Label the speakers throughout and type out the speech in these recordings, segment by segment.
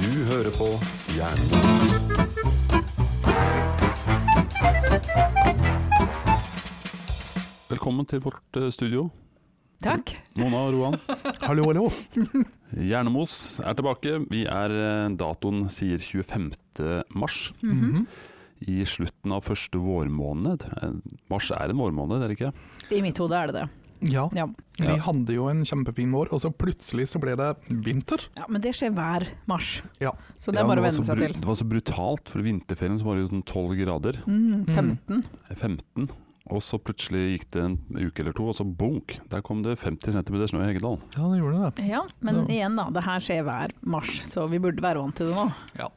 Speaker 1: Du hører på Jernbos.
Speaker 2: Velkommen til vårt eh, studio.
Speaker 3: Takk.
Speaker 2: Mona og Roan.
Speaker 4: Hallo, hallo.
Speaker 2: Hjernemos er tilbake. Vi er eh, datoen sier 25. mars.
Speaker 4: Mhm.
Speaker 2: I slutten av første vårmåned. Eh, Mars er en vårmåned, er det ikke?
Speaker 3: I mitt hode er det det.
Speaker 4: Ja,
Speaker 3: Ja.
Speaker 4: vi hadde jo en kjempefin vår, og så plutselig så ble det vinter.
Speaker 3: ja, Men det skjer hver mars,
Speaker 4: Ja.
Speaker 3: så det er bare å
Speaker 2: var
Speaker 3: venne
Speaker 2: så
Speaker 3: seg
Speaker 2: bru-
Speaker 3: til.
Speaker 2: Det var så brutalt, for i vinterferien så var det jo sånn 12 grader.
Speaker 3: Mm, 15.
Speaker 2: 15. Og så plutselig gikk det en uke eller to, og så bunk! Der kom det 50 cm snø i Heggedal.
Speaker 4: Ja, det gjorde det.
Speaker 3: Ja, men
Speaker 4: Ja.
Speaker 3: igjen da, det her skjer hver mars, så vi burde være vant til det nå.
Speaker 2: Ja.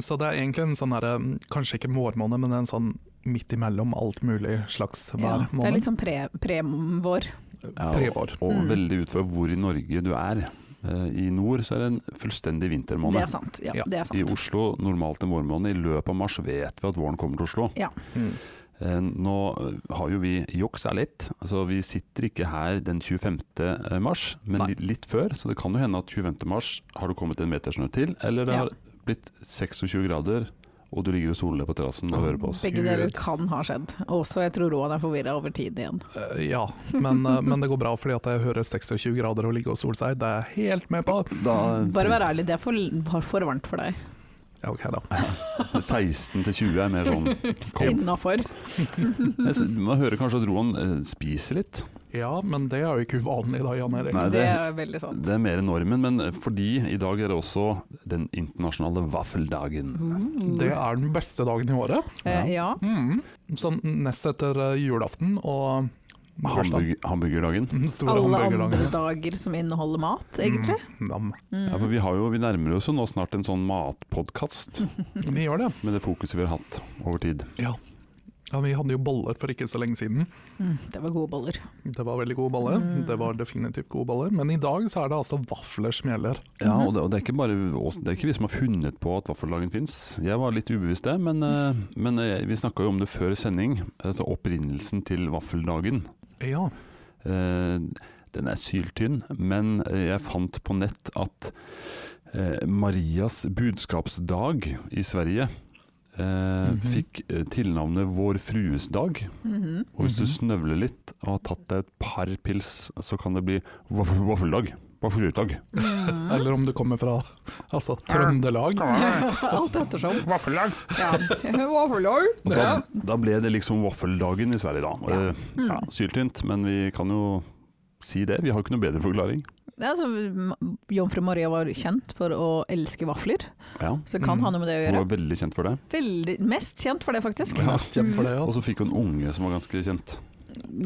Speaker 4: Så det er egentlig en sånn herre, kanskje ikke vårmåned, men en sånn midt imellom alt mulig slags
Speaker 3: Ja,
Speaker 4: hver
Speaker 3: det er
Speaker 4: måned.
Speaker 3: litt sånn pre- pre-vår.
Speaker 2: og
Speaker 4: Prevår.
Speaker 2: og
Speaker 3: Mm.
Speaker 2: veldig ut fra hvor i Norge du er. Eh, I nord så er det en fullstendig vintermåned.
Speaker 3: det er sant. Ja,
Speaker 4: Ja,
Speaker 3: det er
Speaker 2: I
Speaker 3: sant.
Speaker 2: Oslo normalt en vårmåned. I løpet av mars vet vi at våren kommer til Oslo.
Speaker 4: Mm.
Speaker 2: Eh, Nå eh, har jo vi juksa litt. Altså, vi sitter ikke her den 25. mars, men
Speaker 4: Nei.
Speaker 2: litt, litt før. Så det kan jo hende at 25. mars har det kommet en meter snø til, eller det
Speaker 3: Ja.
Speaker 2: har blitt 26 grader. Og du ligger og soler deg på terrassen og hører på oss.
Speaker 3: Begge deler kan ha skjedd. Også jeg tror Roan er forvirra over tid igjen.
Speaker 4: Eh, ja, men, eh, men det går bra, fordi at jeg hører 26 grader og ligger og sol seg. Det er jeg helt med på.
Speaker 2: Da, eh,
Speaker 3: Bare vær ærlig, det er for, var for varmt for deg.
Speaker 4: Ja, ok da.
Speaker 2: 16 til 20 er mer sånn kom.
Speaker 3: Innafor.
Speaker 2: Jeg s- Man hører kanskje at Roan eh, spiser litt.
Speaker 4: Ja, men det er jo ikke uvanlig da, Jan Erik.
Speaker 2: Nei,
Speaker 3: Det
Speaker 2: det-
Speaker 3: er veldig sant.
Speaker 2: Det er mer normen, men eh, fordi i dag er det også den internasjonale vaffeldagen.
Speaker 4: Mm. Det er den beste dagen i året.
Speaker 3: Eh, ja.
Speaker 4: Mm. Sånn nest etter eh, julaften og
Speaker 2: Mm.
Speaker 4: bursdag.
Speaker 2: Hamburg hamburgerdagen.
Speaker 4: Den store
Speaker 3: Alle andre
Speaker 4: hamburgerdagen.
Speaker 3: dager som inneholder mat, egentlig.
Speaker 4: Mm, nam.
Speaker 2: Ja, for vi, har jo, vi nærmer oss jo nå snart en sånn matpodkast,
Speaker 4: Vi gjør det.
Speaker 2: med det fokuset vi har hatt over tid.
Speaker 4: Ja. ja, vi hadde jo boller for ikke så lenge siden.
Speaker 3: Mm, det var gode boller.
Speaker 4: Det var veldig gode baller. Det var definitivt gode baller. Men i dag så er det altså vafler som gjelder.
Speaker 2: Ja, og det, og det, er, ikke bare, oss- det er ikke vi som har funnet på at vaffeldagen fins. Jeg var litt ubevisst det, men, eh, men eh, vi snakka jo om det før sending. Altså opprinnelsen til vaffeldagen.
Speaker 4: Ja.
Speaker 2: Eh, Den er syltynn, men eh, jeg fant på nett at eh, Marias budskapsdag i Sverige eh, fikk eh, tilnavnet Vår frues dag.
Speaker 3: Mhm.
Speaker 2: Og hvis du
Speaker 4: Mhm.
Speaker 2: snøvler litt og har tatt deg et par pils, så kan det bli vaff- vaffeldag. Vaffelutdag.
Speaker 3: Mm.
Speaker 4: Eller om du kommer fra altså, Trøndelag.
Speaker 3: Alt ettersom.
Speaker 1: Vaffellag.
Speaker 3: Ja. Vaffeløl.
Speaker 2: Og Da, da ble det liksom vaffeldagen i Sverige, da.
Speaker 3: Ja. Mm.
Speaker 2: Eh, Ja, syltynt, men vi kan jo si det. Vi har jo ikke noe bedre forklaring.
Speaker 3: Altså, m- Jomfru Maria var kjent for å elske vafler,
Speaker 2: Ja,
Speaker 3: så kan ha noe med det å
Speaker 2: Hun
Speaker 3: gjøre.
Speaker 2: var veldig kjent for det.
Speaker 3: Veldig, mest kjent for det, faktisk.
Speaker 2: Ja.
Speaker 4: Mest kjent for det,
Speaker 2: Og
Speaker 4: ja.
Speaker 2: så fikk hun unge som var ganske kjent.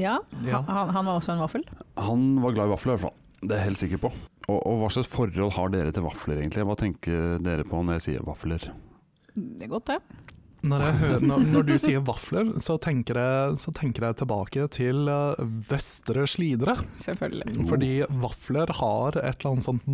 Speaker 3: Ja,
Speaker 4: Ja.
Speaker 3: han, han var også en vaffel.
Speaker 2: Han var glad i vafler i hvert fall. Det er jeg helt sikker på. Og, og hva slags forhold har dere til vafler egentlig? Hva tenker dere på når jeg sier vafler?
Speaker 3: Det er godt, det.
Speaker 4: Når, jeg hører, når, når du sier vafler, så tenker jeg, så tenker jeg tilbake til eh, Vestre Slidre.
Speaker 3: Selvfølgelig.
Speaker 2: Mm.
Speaker 4: Fordi vafler har et eller annet sånt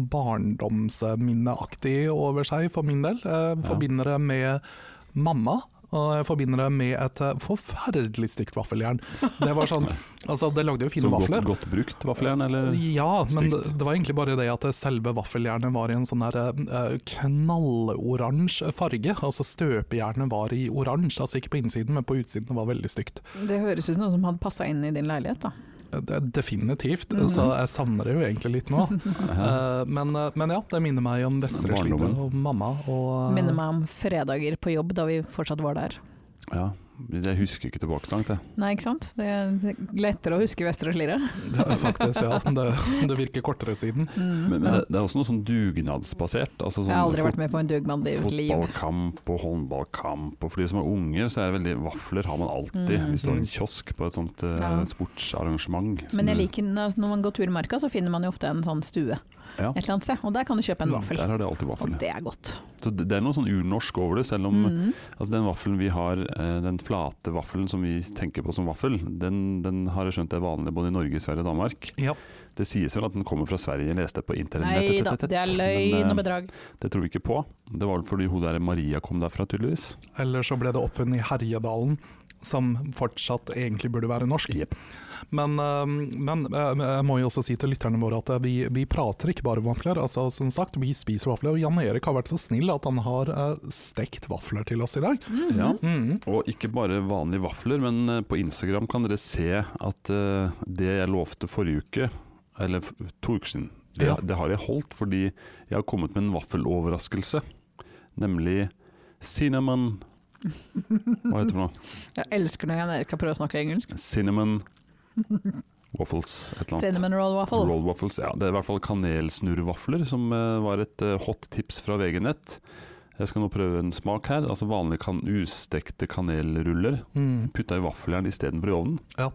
Speaker 4: barndomsminneaktig over seg for min del. Jeg forbinder det med mamma. Og jeg forbinder det med et eh, forferdelig stygt vaffeljern. Det var sånn, altså det lagde jo fine
Speaker 2: Så godt,
Speaker 4: vafler. Eh,
Speaker 2: godt brukt vaffeljern, eller?
Speaker 4: Ja, men det,
Speaker 2: Stygt.
Speaker 4: det var egentlig bare det at selve vaffeljernet var i en sånn der eh, knalloransje farge. Altså støpejernet var i oransje, altså ikke på innsiden, men på utsiden det var veldig stygt. Eh,
Speaker 3: Det høres ut som noe som hadde passa inn i din leilighet, da.
Speaker 4: Det er definitivt,
Speaker 2: Mm.
Speaker 4: så jeg savner det jo egentlig litt nå. Eh, men, eh, men ja, det minner meg om Vestre Slidre
Speaker 2: Barndommen.
Speaker 4: og mamma og eh,
Speaker 3: Minner meg om fredager på jobb da vi fortsatt var der.
Speaker 2: Ja. Jeg husker ikke tilbake så langt, jeg.
Speaker 3: Nei, ikke sant? Det er lettere å huske Vestre Slidre.
Speaker 4: Ja, Faktisk, ja. Det, det virker kortere siden.
Speaker 3: Mm.
Speaker 2: Men, men det, det er også noe sånn dugnadsbasert. Altså sånn
Speaker 3: Jeg har aldri
Speaker 2: fot-
Speaker 3: vært med på en dugnad i mitt liv.
Speaker 2: Fotballkamp og håndballkamp, og for de som er unger, så er det veldig Vafler har man alltid.
Speaker 3: Mm.
Speaker 2: Hvis du har en kiosk på et sånt eh,
Speaker 3: Ja.
Speaker 2: sportsarrangement. som
Speaker 3: Men jeg
Speaker 2: du-
Speaker 3: liker, når når man går tur i marka, så finner man jo ofte en sånn stue et
Speaker 2: ja, Mm,
Speaker 3: eller annet sted. Og der kan du kjøpe en vaffel.
Speaker 2: Der har det alltid vaffel.
Speaker 3: Og
Speaker 2: ja.
Speaker 3: det er godt.
Speaker 2: Så det det er noe sånn urnorsk over det, selv om
Speaker 3: Mm.
Speaker 2: altså den vaffelen vi har, eh, den flate vaffelen som vi tenker på som vaffel, den, den har jeg skjønt er vanlig både i Norge, Sverige og Danmark.
Speaker 4: Ja.
Speaker 2: Det sies vel at den kommer fra Sverige, jeg leste på internett.
Speaker 3: Nei
Speaker 2: et,
Speaker 3: da,
Speaker 2: et, et,
Speaker 3: det er
Speaker 2: et.
Speaker 3: løgn og
Speaker 2: Men, eh,
Speaker 3: bedrag.
Speaker 2: Det tror vi ikke på. Det var vel fordi hun der Maria kom derfra, tydeligvis.
Speaker 4: Eller så ble det oppfunnet i Herjedalen. som fortsatt egentlig burde være norsk. Men, eh, men eh, jeg må jo også si til lytterne våre at eh, vi, vi prater ikke bare vafler. Altså, som sagt, vi spiser vafler. Og Jan Erik har vært så snill at han har eh, stekt vafler til oss i dag.
Speaker 3: Mhm.
Speaker 2: Ja.
Speaker 4: Mm.
Speaker 2: Og ikke bare vanlige vafler, men eh, på Instagram kan dere se at eh, det jeg lovte forrige uke, eller f- to uker siden, det,
Speaker 4: Ja.
Speaker 2: det har jeg holdt fordi jeg har kommet med en vaffeloverraskelse. Nemlig cinnamon Hva heter det for noe?
Speaker 3: Jeg elsker når Jan Erik skal prøve å snakke engelsk.
Speaker 2: Cinnamon waffles, et eller annet.
Speaker 3: Cinnamon roll waffle.
Speaker 2: Roll waffles, ja. Det er i hvert fall kanelsnurrvafler, som eh, var et eh, hot tips fra VG Nett. Jeg skal nå prøve en smak her. Altså vanlige kan ustekte kanelruller
Speaker 4: Mm.
Speaker 2: putta i vaffeljern istedenfor i ovnen.
Speaker 4: Ja.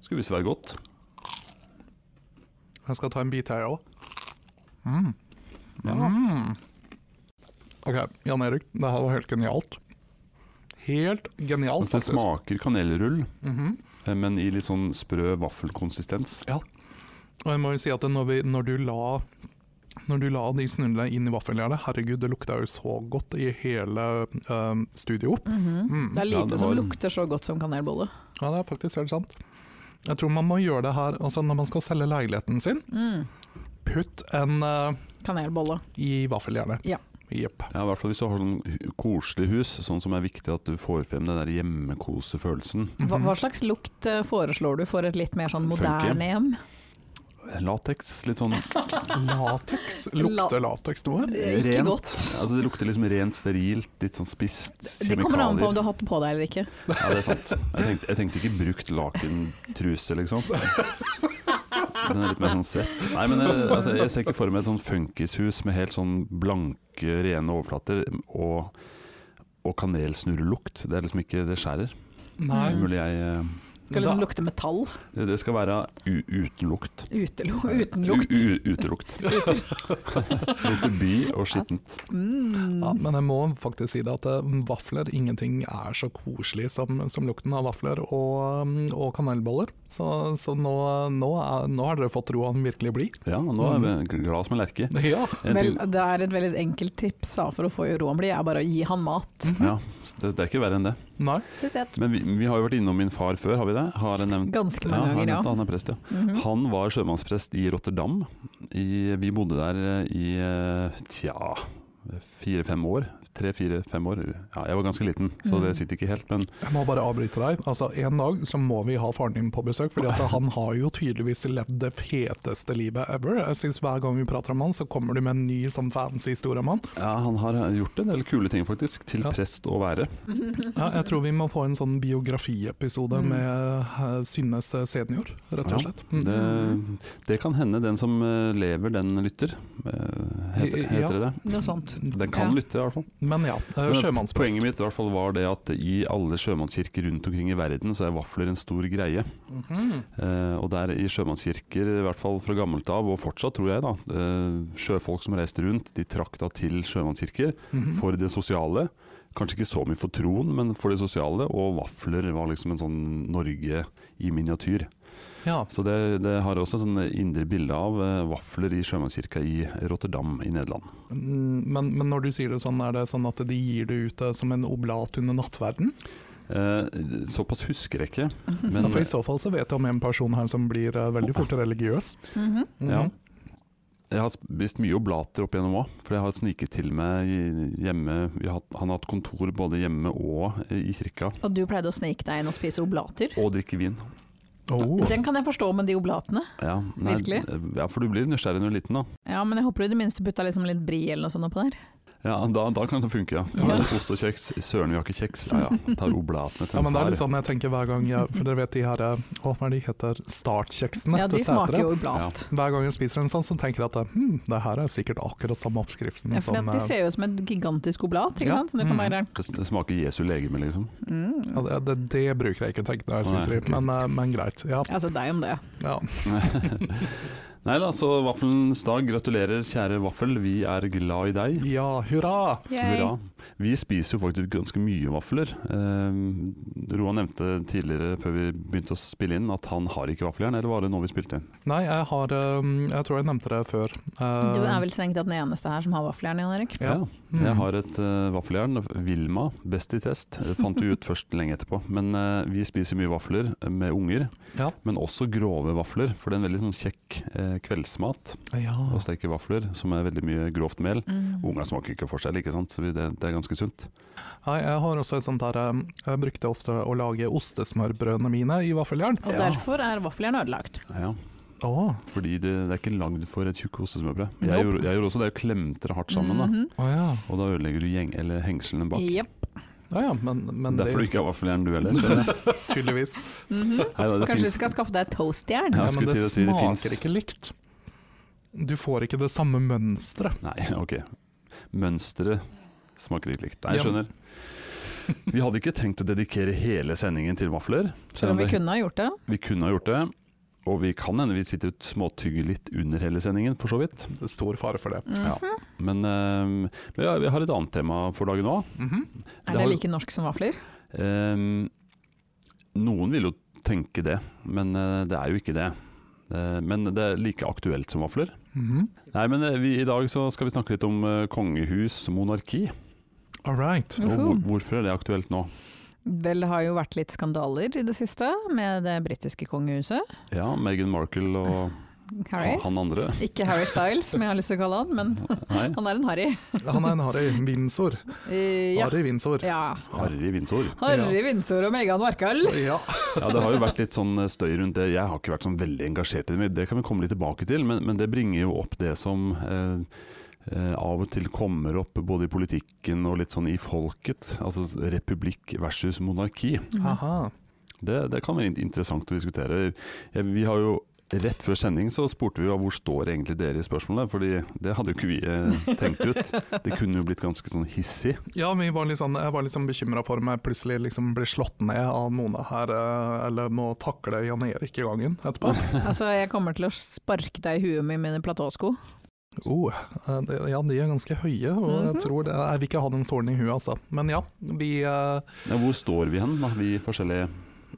Speaker 2: Skulle visst være godt.
Speaker 4: Jeg skal ta en bit her òg. Mm.
Speaker 3: Mhm.
Speaker 4: Mm. OK, Jan Erik, det her var helt genialt. Helt genialt,
Speaker 2: Altså, det
Speaker 4: faktisk.
Speaker 2: smaker kanelrull,
Speaker 4: Mhm.
Speaker 2: eh, men i litt sånn sprø vaffelkonsistens.
Speaker 4: Og jeg må jo si at når, vi, når du la når du la de snurrene inn i vaffeljernet Herregud, det lukta jo så godt i hele øhm, studio.
Speaker 3: Mhm.
Speaker 4: Mm.
Speaker 3: Det er
Speaker 2: Ja,
Speaker 3: lite
Speaker 2: det
Speaker 3: som
Speaker 2: var-
Speaker 3: lukter så godt som kanelbolle.
Speaker 4: Ja, det er faktisk helt sant. Jeg tror man må gjøre det her altså Når man skal selge leiligheten sin,
Speaker 3: Mm.
Speaker 4: putt en øh,
Speaker 3: Kanelbolle.
Speaker 4: i vaffeljernet.
Speaker 3: Ja.
Speaker 4: Jepp.
Speaker 2: Ja, i hvert fall Hvis du har sånn hu- koselig hus, sånn som er viktig at du får frem den der hjemmekosefølelsen.
Speaker 3: Hva, hva slags lukt eh, foreslår du for et litt mer sånn moderne hjem?
Speaker 2: Lateks, litt sånn
Speaker 4: Lateks? Lukter lateks noe?
Speaker 3: Ikke
Speaker 2: Rent.
Speaker 3: godt.
Speaker 2: altså Det lukter liksom rent, sterilt, litt sånn spisst.
Speaker 3: Det kommer an på om
Speaker 2: Kjemikalier.
Speaker 3: du har hatt det på deg eller ikke.
Speaker 2: Ja, det er sant. Jeg tenkte, jeg tenkte ikke brukt lakentruse, liksom. Den er litt mer sånn svett. Nei, men jeg, altså, jeg ser ikke for meg et sånn funkishus med helt sånn blanke, rene overflater og, og kanelsnurrelukt. Det er liksom ikke Det skjærer. Det
Speaker 4: Nei.
Speaker 2: er mulig jeg eh,
Speaker 3: Skal liksom
Speaker 4: Da-
Speaker 3: lukte metall.
Speaker 2: Det, det skal være u uten lukt.
Speaker 3: Utelo uten lukt.
Speaker 2: U u utelukt. skal lukte by og skittent.
Speaker 3: Mm.
Speaker 4: Ja, men jeg må faktisk si det at eh, vafler, ingenting er så koselig som, som lukten av vafler og, mm, og kanelboller. Så, så nå, nå, er, nå har dere fått roa den virkelig blir.
Speaker 2: Ja, nå er vi glad som en lerke.
Speaker 4: Ja.
Speaker 2: En
Speaker 3: Vel,
Speaker 2: ting,
Speaker 3: det er et veldig enkelt tips da, for å få roen blid, er bare å gi han mat.
Speaker 2: ja, det, det er ikke verre enn det.
Speaker 4: Mhm. Nei.
Speaker 3: Synes jeg.
Speaker 2: Men vi, vi har jo vært innom min far før, har vi det? Har jeg nevnt
Speaker 3: Ganske
Speaker 2: Ja,
Speaker 3: mange
Speaker 2: han,
Speaker 3: ganger, ja.
Speaker 2: nevnte, han er prest, ja.
Speaker 3: Mhm.
Speaker 2: Han var sjømannsprest i Rotterdam. I, vi bodde der eh, i eh, tja fire-fem år. Tre-fire-fem år. Ja, jeg var ganske liten, så
Speaker 3: Mm.
Speaker 2: det sitter ikke helt. Men
Speaker 4: Jeg må bare avbryte deg. Altså, En dag så må vi ha faren din på besøk, fordi at han har jo tydeligvis levd det feteste livet ever. Jeg synes Hver gang vi prater om han, så kommer du med en ny sånn fancy historie om han.
Speaker 2: ja, han har gjort en del kule ting, faktisk. Til
Speaker 4: Ja.
Speaker 2: prest å være.
Speaker 4: Ja, jeg tror vi må få en sånn biografiepisode
Speaker 3: Mm.
Speaker 4: med eh, Synnes senior, rett
Speaker 2: Ja,
Speaker 4: og slett. Mm.
Speaker 2: Det, det kan hende den som eh, lever, den lytter. Eh, Heter,
Speaker 4: Ja.
Speaker 2: heter det det?
Speaker 3: Noe sånt.
Speaker 2: Den kan
Speaker 3: Ja.
Speaker 2: lytte, i hvert fall.
Speaker 4: Men ja, eh,
Speaker 2: Men
Speaker 4: sjømannsprest.
Speaker 2: Poenget mitt i hvert fall var det at i alle sjømannskirker rundt omkring i verden, så er vafler en stor greie.
Speaker 4: Mhm.
Speaker 2: Eh, og der i sjømannskirker, i hvert fall fra gammelt av, og fortsatt tror jeg, da, eh, sjøfolk som reiste rundt, de trakk da til sjømannskirker
Speaker 4: Mhm.
Speaker 2: for det sosiale. Kanskje ikke så mye for troen, men for det sosiale. Og vafler var liksom en sånn Norge i miniatyr.
Speaker 4: Ja,
Speaker 2: Så det, det har også sånn indre bilde av eh, vafler i sjømannskirka i Rotterdam i Nederland.
Speaker 4: mm, men, men når du sier det sånn, er det sånn at de gir det ut eh, som en oblat under nattverden?
Speaker 2: Eh, såpass husker jeg ikke, men
Speaker 4: Ja, for I så fall så vet jeg om en person her som blir eh, veldig fort religiøs.
Speaker 3: Mhm.
Speaker 4: Mhm.
Speaker 2: Ja. Jeg har spist mye oblater opp igjennom òg, for jeg har sniket til meg i- hjemme. Vi har, hatt- han har hatt kontor både hjemme og i kirka,
Speaker 3: Og du pleide å snike deg inn og spise oblater.
Speaker 2: og drikke vin.
Speaker 4: Oh.
Speaker 3: Den kan jeg forstå med de oblatene.
Speaker 2: Ja, eh,
Speaker 3: Virkelig?
Speaker 2: Ja, for du blir nysgjerrig når du er liten, da.
Speaker 3: Ja, men jeg håper du i det minste putta liksom litt brie eller noe sånt oppå der.
Speaker 2: Ja, Da, da kan det funke, ja. Så
Speaker 3: Ja.
Speaker 2: Ost og kjeks. Søren, vi har ikke kjeks. Ja ja, tar oblatene til
Speaker 4: Ja, men det er
Speaker 2: en
Speaker 4: litt
Speaker 2: far.
Speaker 4: sånn jeg tenker hver gang jeg For dere vet de her eh, Å, hva er de heter? Startkjeksene
Speaker 3: Ja, de
Speaker 4: til
Speaker 3: smaker
Speaker 4: Sætre.
Speaker 3: jo oblat.
Speaker 4: Hver gang jeg spiser en sånn, så tenker jeg at eh, hm, det her er sikkert akkurat samme oppskriften
Speaker 3: Ja, for
Speaker 4: som
Speaker 3: det- de
Speaker 4: eh,
Speaker 3: ser jo ut som et gigantisk oblat, ikke
Speaker 4: Ja.
Speaker 3: sant? Som du kan
Speaker 4: Mm.
Speaker 3: bare
Speaker 2: Det s- Det smaker Jesu legeme, liksom.
Speaker 3: mm.
Speaker 4: ja, det, det, det bruker jeg ikke å tenke når jeg
Speaker 2: Nei,
Speaker 4: spiser de,
Speaker 2: ok.
Speaker 4: men, eh, men greit. Ja.
Speaker 3: Altså deg om det.
Speaker 4: ja.
Speaker 2: Nei da, så vaffelens dag. Gratulerer, kjære vaffel. Vi er glad i deg.
Speaker 4: Ja, hurra!
Speaker 2: Hurra. Vi spiser jo faktisk ganske mye vafler. Eh, Roan nevnte tidligere før vi begynte å spille inn at han har ikke vaffeljern, eller var det nå vi spilte inn?
Speaker 4: Nei, jeg har eh, Jeg tror jeg nevnte det før. Eh,
Speaker 3: Du er vel strengt tatt den eneste her som har vaffeljern, Jan Erik.
Speaker 4: Ja. Mm.
Speaker 2: Jeg har et eh, vaffeljern, Vilma, best i test. Det Fant vi ut først lenge etterpå. Men eh, vi spiser mye vafler eh, med unger,
Speaker 4: Ja.
Speaker 2: men også grove vafler. For det er en veldig sånn kjekk eh, kveldsmat
Speaker 4: ja.
Speaker 2: å steke vafler, som er veldig mye grovt mel.
Speaker 3: Mm.
Speaker 2: Unga smaker ikke forskjell, ikke sant? så vi- det, det er ganske sunt.
Speaker 4: Nei, jeg har også et sånt her eh, Jeg brukte ofte å lage ostesmørbrødene mine i vaffeljern.
Speaker 3: Og derfor er vaffeljern ødelagt.
Speaker 2: Ja,
Speaker 4: Å,
Speaker 2: fordi det, det er ikke lagd for et tjukk ostesmørbrød. Jeg,
Speaker 3: Nope.
Speaker 2: gjorde- jeg gjorde også det, jeg klemte det hardt sammen. da.
Speaker 3: Mhm.
Speaker 4: å ja.
Speaker 2: Og da ødelegger du gjeng, eller hengslene bak.
Speaker 3: Jepp.
Speaker 4: Ja, ja, men, men
Speaker 2: Derfor du
Speaker 4: det
Speaker 2: ikke har vaffeljern du heller. skjønner jeg.
Speaker 4: tydeligvis.
Speaker 3: Mhm.
Speaker 2: Nei, da, det
Speaker 3: Kanskje du
Speaker 2: finnes-
Speaker 3: skal skaffe deg toastjern?
Speaker 2: Ja,
Speaker 4: Ja,
Speaker 2: jeg
Speaker 4: men
Speaker 2: skulle
Speaker 4: det
Speaker 2: til å si det
Speaker 4: smaker
Speaker 2: finnes-
Speaker 4: ikke likt. Du får ikke det samme mønsteret.
Speaker 2: Nei, ok. Mønsteret smaker ikke likt. Nei, jeg
Speaker 4: Ja,
Speaker 2: skjønner. Vi hadde ikke tenkt å dedikere hele sendingen til vafler.
Speaker 3: Selv om vi
Speaker 2: det-
Speaker 3: kunne ha gjort det.
Speaker 2: vi kunne ha gjort det. Og vi kan hende vi sitter og småtygger litt under hele sendingen, for så vidt.
Speaker 4: Det er stor fare for det.
Speaker 3: Mm.
Speaker 2: Ja.
Speaker 3: Mhm.
Speaker 2: Men, eh, men ja, vi har et annet tema for dagen òg.
Speaker 4: Mhm.
Speaker 3: Er det like norsk som vafler?
Speaker 2: Ehm, noen vil jo tenke det, men eh, det er jo ikke det. Eh, men det er like aktuelt som vafler.
Speaker 4: Mhm.
Speaker 2: Nei, men eh, vi, I dag så skal vi snakke litt om eh, kongehus, monarki.
Speaker 4: All right.
Speaker 2: Og hvor,
Speaker 3: Uhu.
Speaker 2: hvorfor er det aktuelt nå?
Speaker 3: Mhm. Vel, det har jo vært litt skandaler i det siste med det britiske kongehuset.
Speaker 2: Ja, Meghan Markle og
Speaker 3: Harry.
Speaker 2: han, han andre.
Speaker 3: Ikke Harry Styles, som jeg har lyst til å kalle han, men
Speaker 2: Nei,
Speaker 3: han er en Harry.
Speaker 4: Han er en Harry Windsor.
Speaker 3: Eh, ja.
Speaker 4: Harry Windsor.
Speaker 3: ja.
Speaker 2: Harry Windsor.
Speaker 3: Harry Windsor og Meghan Markle.
Speaker 4: Ja.
Speaker 2: Ja, det har jo vært litt sånn eh, støy rundt det. Jeg har ikke vært sånn veldig engasjert i det, men det kan vi komme litt tilbake til. Men, men det bringer jo opp det som eh, eh, av og til kommer opp både i politikken og litt sånn i folket. Altså s- republikk versus monarki.
Speaker 4: Aha.
Speaker 2: Det, det kan være in- interessant å diskutere. Jeg, vi har jo Rett før sending så spurte vi jo hvor står egentlig dere i spørsmålet, fordi det hadde jo ikke vi eh, tenkt ut. Det kunne jo blitt ganske sånn hissig.
Speaker 4: ja, vi var litt sånn, jeg var litt sånn bekymra for om jeg plutselig liksom blir slått ned av noen her, eh, eller må takle Jan Erik i gangen etterpå.
Speaker 3: Altså, jeg kommer til å sparke deg i huet med mine platåsko.
Speaker 4: Oh, eh, det- ja, de er ganske høye, og jeg
Speaker 3: Mhm.
Speaker 4: tror det, jeg vil ikke ha den sålen i huet, altså. Men ja, vi eh,
Speaker 2: Ja, hvor står vi hen, da, vi forskjellige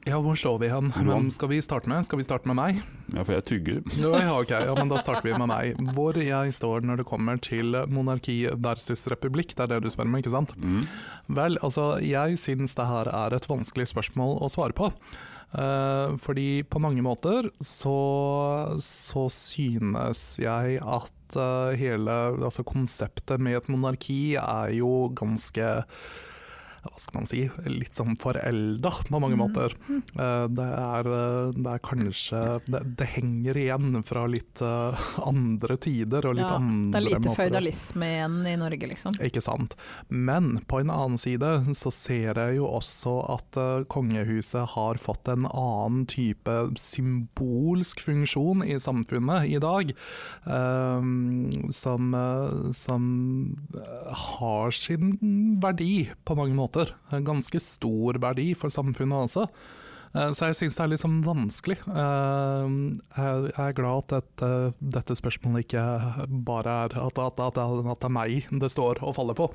Speaker 4: Ja, hvor slår vi hen? Hvem skal vi starte med? Skal vi starte med meg?
Speaker 2: Ja, for jeg tygger.
Speaker 4: Nå, ja, ok, ja, men Da starter vi med meg. Hvor jeg står når det kommer til monarki versus republikk, det er det du spør om, ikke sant?
Speaker 2: Mm.
Speaker 4: Vel, altså, jeg syns det her er et vanskelig spørsmål å svare på. Eh, fordi på mange måter så, så synes jeg at eh, hele altså, konseptet med et monarki er jo ganske hva skal man si, litt sånn forelda på
Speaker 3: Mhm.
Speaker 4: mange måter. Eh, Det er, eh, det er kanskje det, det henger igjen fra litt eh, andre tider og litt
Speaker 3: Ja, Det
Speaker 4: andre
Speaker 3: er lite
Speaker 4: måter. å-
Speaker 3: føydalisme igjen i Norge, liksom.
Speaker 4: ikke sant. Men på en annen side så ser jeg jo også at eh, kongehuset har fått en annen type symbolsk funksjon i samfunnet i dag, eh, som, eh, som eh, har sin verdi på mange måter. En ganske stor verdi for samfunnet også. Eh, Så jeg syns det er litt sånn vanskelig. Eh, Jeg jeg er glad at dette, dette spørsmålet ikke bare er at, at, at, at det er meg det står og faller på.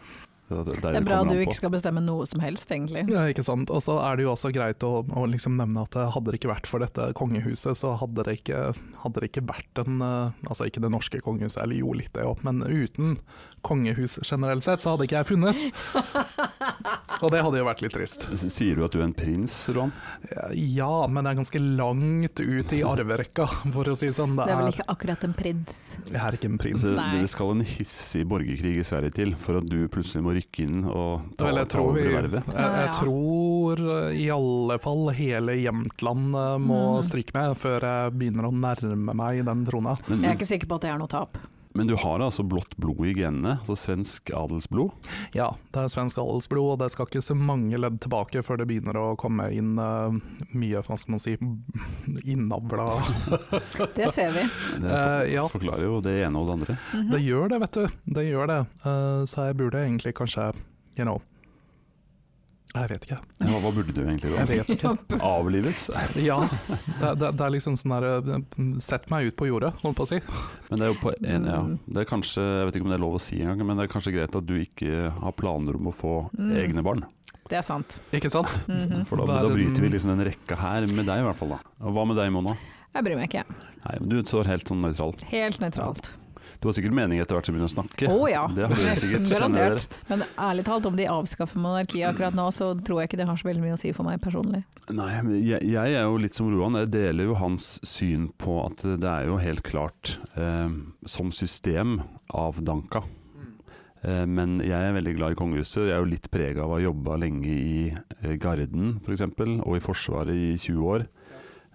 Speaker 2: Det, det,
Speaker 3: Det er bra du ikke skal bestemme noe som helst, egentlig.
Speaker 4: Ja, ikke sant? Og så er det jo også greit å, å liksom nevne at eh, hadde det ikke vært for dette kongehuset, så hadde det ikke, hadde det ikke vært en eh, Altså ikke det norske kongehuset, eller jo litt det òg, men uten kongehus generelt sett, så hadde ikke jeg funnes. Og det hadde jo vært litt trist.
Speaker 2: S- Sier du at du er en prins, Roan?
Speaker 4: Ja, men det er ganske langt ut i arverekka, for å si det sånn. Det
Speaker 3: Det er vel
Speaker 4: er,
Speaker 3: ikke akkurat en prins.
Speaker 4: jeg er ikke en prins.
Speaker 2: Altså,
Speaker 3: Nei.
Speaker 2: det skal en hissig borgerkrig i Sverige til for at du plutselig må rykke inn og ta,
Speaker 4: Vel, jeg,
Speaker 2: ta
Speaker 4: tror
Speaker 2: over
Speaker 4: vi, jeg,
Speaker 2: vervet.
Speaker 4: jeg tror eh, i alle fall hele Jämtland eh, må
Speaker 3: Mm.
Speaker 4: strikke med før jeg begynner å nærme meg den trona.
Speaker 2: Men,
Speaker 3: Jeg er ikke sikker på at det er noe tap.
Speaker 2: men du har altså blått blod i genene, altså svensk adelsblod.
Speaker 4: Ja, det er svensk adelsblod, og det skal ikke så mange ledd tilbake før det begynner å komme inn eh, mye, hva skal man si, innavla
Speaker 3: Det ser vi.
Speaker 2: Det
Speaker 4: Eh, ja.
Speaker 2: forklarer jo det ene og det andre.
Speaker 3: Mhm.
Speaker 4: Det gjør det, vet du. Det gjør det. Eh, så jeg burde egentlig kanskje, you know Jeg vet ikke.
Speaker 2: Hva, hva burde du egentlig
Speaker 4: Jeg
Speaker 2: gjøre?
Speaker 4: vet ikke.
Speaker 2: Avlives?
Speaker 4: Ja, det, det, det er liksom sånn der eh, Sett meg ut på jordet, holdt på å si.
Speaker 2: Men det er jo på en, ja.
Speaker 3: Mm.
Speaker 2: Det er kanskje, jeg vet ikke om det er lov å si engang, men det er kanskje greit at du ikke har planer om å få
Speaker 3: Mm.
Speaker 2: egne barn.
Speaker 3: Det er sant.
Speaker 4: Ikke sant?
Speaker 3: Mhm.
Speaker 2: For da,
Speaker 4: Hva er
Speaker 2: da
Speaker 4: det-
Speaker 2: bryter vi liksom den rekka her, med deg i hvert fall. da. Og Hva med deg, Mona?
Speaker 3: Jeg bryr meg ikke.
Speaker 2: Nei, men Du står helt sånn nøytral.
Speaker 3: Helt nøytralt.
Speaker 2: Du har sikkert mening etter hvert som du begynner å snakke.
Speaker 3: Å ja,
Speaker 2: Det har dere
Speaker 3: nesten
Speaker 2: sikkert. kjenner dere.
Speaker 3: garantert. Men ærlig talt, om de avskaffer monarkiet akkurat nå, så tror jeg ikke det har så veldig mye å si for meg personlig.
Speaker 2: Nei, men jeg, jeg er jo litt som Roan. Jeg deler jo hans syn på at det er jo helt klart eh, som system avdanka. Eh, men jeg er veldig glad i kongehuset. Jeg er jo litt prega av å ha jobba lenge i eh, Garden f.eks., og i Forsvaret i 20 år.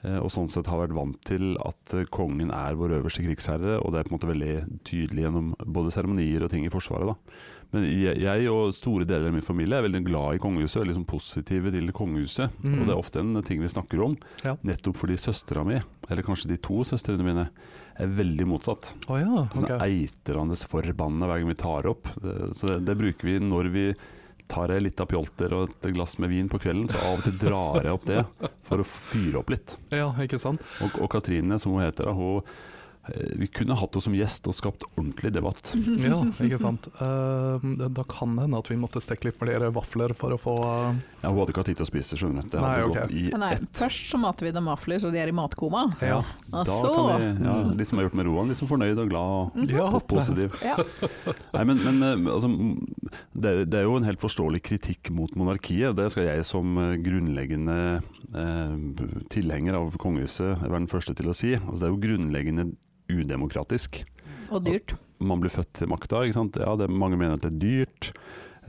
Speaker 2: Eh, og sånn sett har vært vant til at eh, kongen er vår øverste krigsherre, og det er på en måte veldig tydelig gjennom både seremonier og ting i Forsvaret. da. Men jeg, jeg og store deler av min familie er veldig glad i kongehuset, er liksom positive til kongehuset.
Speaker 4: Mm.
Speaker 2: Og det er ofte en ting vi snakker om,
Speaker 4: Ja.
Speaker 2: nettopp fordi søstera mi, eller kanskje de to søstrene mine, er veldig motsatt.
Speaker 4: Å ja,
Speaker 2: Sånn
Speaker 4: ok.
Speaker 2: Eitrende forbanna hver gang vi tar opp. Det- Så det, det bruker vi når vi tar ei lita pjolter og et glass med vin på kvelden, så av og til drar jeg opp det for å fyre opp litt.
Speaker 4: Ja, ikke sant?
Speaker 2: Og, og Katrine, som hun heter, da, hun, eh, vi kunne hatt henne som gjest og skapt ordentlig debatt.
Speaker 4: Ja, ikke sant. Eh, det- da kan det hende at vi måtte steke litt flere vafler for å få
Speaker 2: Ja, hun hadde ikke hatt tid til å spise, skjønner du. Det
Speaker 4: Nei,
Speaker 2: hadde
Speaker 4: ok.
Speaker 2: gått i
Speaker 3: Nei,
Speaker 2: ett.
Speaker 3: først så mater vi dem vafler, så de er i matkoma.
Speaker 4: eh, Ja.
Speaker 2: Da
Speaker 3: Og
Speaker 2: kan
Speaker 3: så
Speaker 2: vi, ja, litt som jeg har gjort med Roan, litt sånn fornøyd og glad og
Speaker 4: Ja,
Speaker 2: po- positiv.
Speaker 3: ja.
Speaker 2: Nei, men, men eh, altså, m- det, det er jo en helt forståelig kritikk mot monarkiet. Det skal jeg som eh, grunnleggende eh, b- tilhenger av kongehuset være den første til å si. Altså, det er jo grunnleggende udemokratisk.
Speaker 3: Og dyrt.
Speaker 2: Man blir født til makta, ikke sant. Ja, det, mange mener at det er dyrt.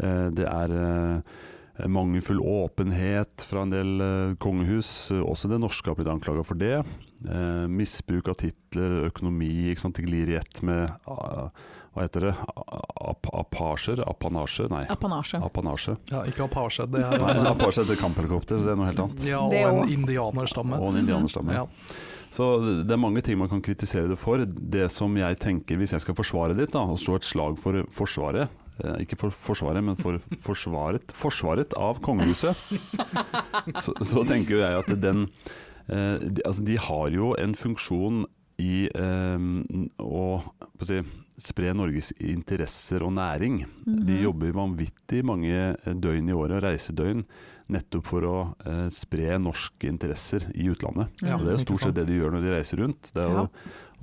Speaker 2: Eh, det er eh, mangelfull åpenhet fra en del eh, kongehus. Eh, Også det norske har blitt anklaga for det. Eh, misbruk av titler, økonomi, ikke sant? det glir i ett med ah, Hva heter det? A- ap- Apasjer? Apanasje? Nei,
Speaker 3: Apanasje.
Speaker 2: apanasje.
Speaker 4: ja ikke apasje. Det er
Speaker 2: Nei, apasje heter kamphelikopter, så det er noe helt annet.
Speaker 4: Ja, og
Speaker 3: Det
Speaker 4: en
Speaker 3: også.
Speaker 4: indianerstamme.
Speaker 2: Og en indianerstamme.
Speaker 4: Ja.
Speaker 2: Så det er mange ting man kan kritisere det for. Det som jeg tenker, hvis jeg skal forsvare ditt, da, og slå et slag for Forsvaret eh, ikke for Forsvaret, men for forsvaret, forsvaret av kongehuset. Så, så tenker jo jeg at den eh, de, altså de har jo en funksjon i eh, å hva skal jeg si, spre Norges interesser og næring. De
Speaker 3: Mhm.
Speaker 2: jobber vanvittig mange eh, døgn i året, reisedøgn, nettopp for å eh, spre norske interesser i utlandet.
Speaker 4: Ja,
Speaker 2: Og det er jo
Speaker 4: ikke
Speaker 2: stort sett
Speaker 4: sant.
Speaker 2: det de gjør når de reiser rundt. Det er å,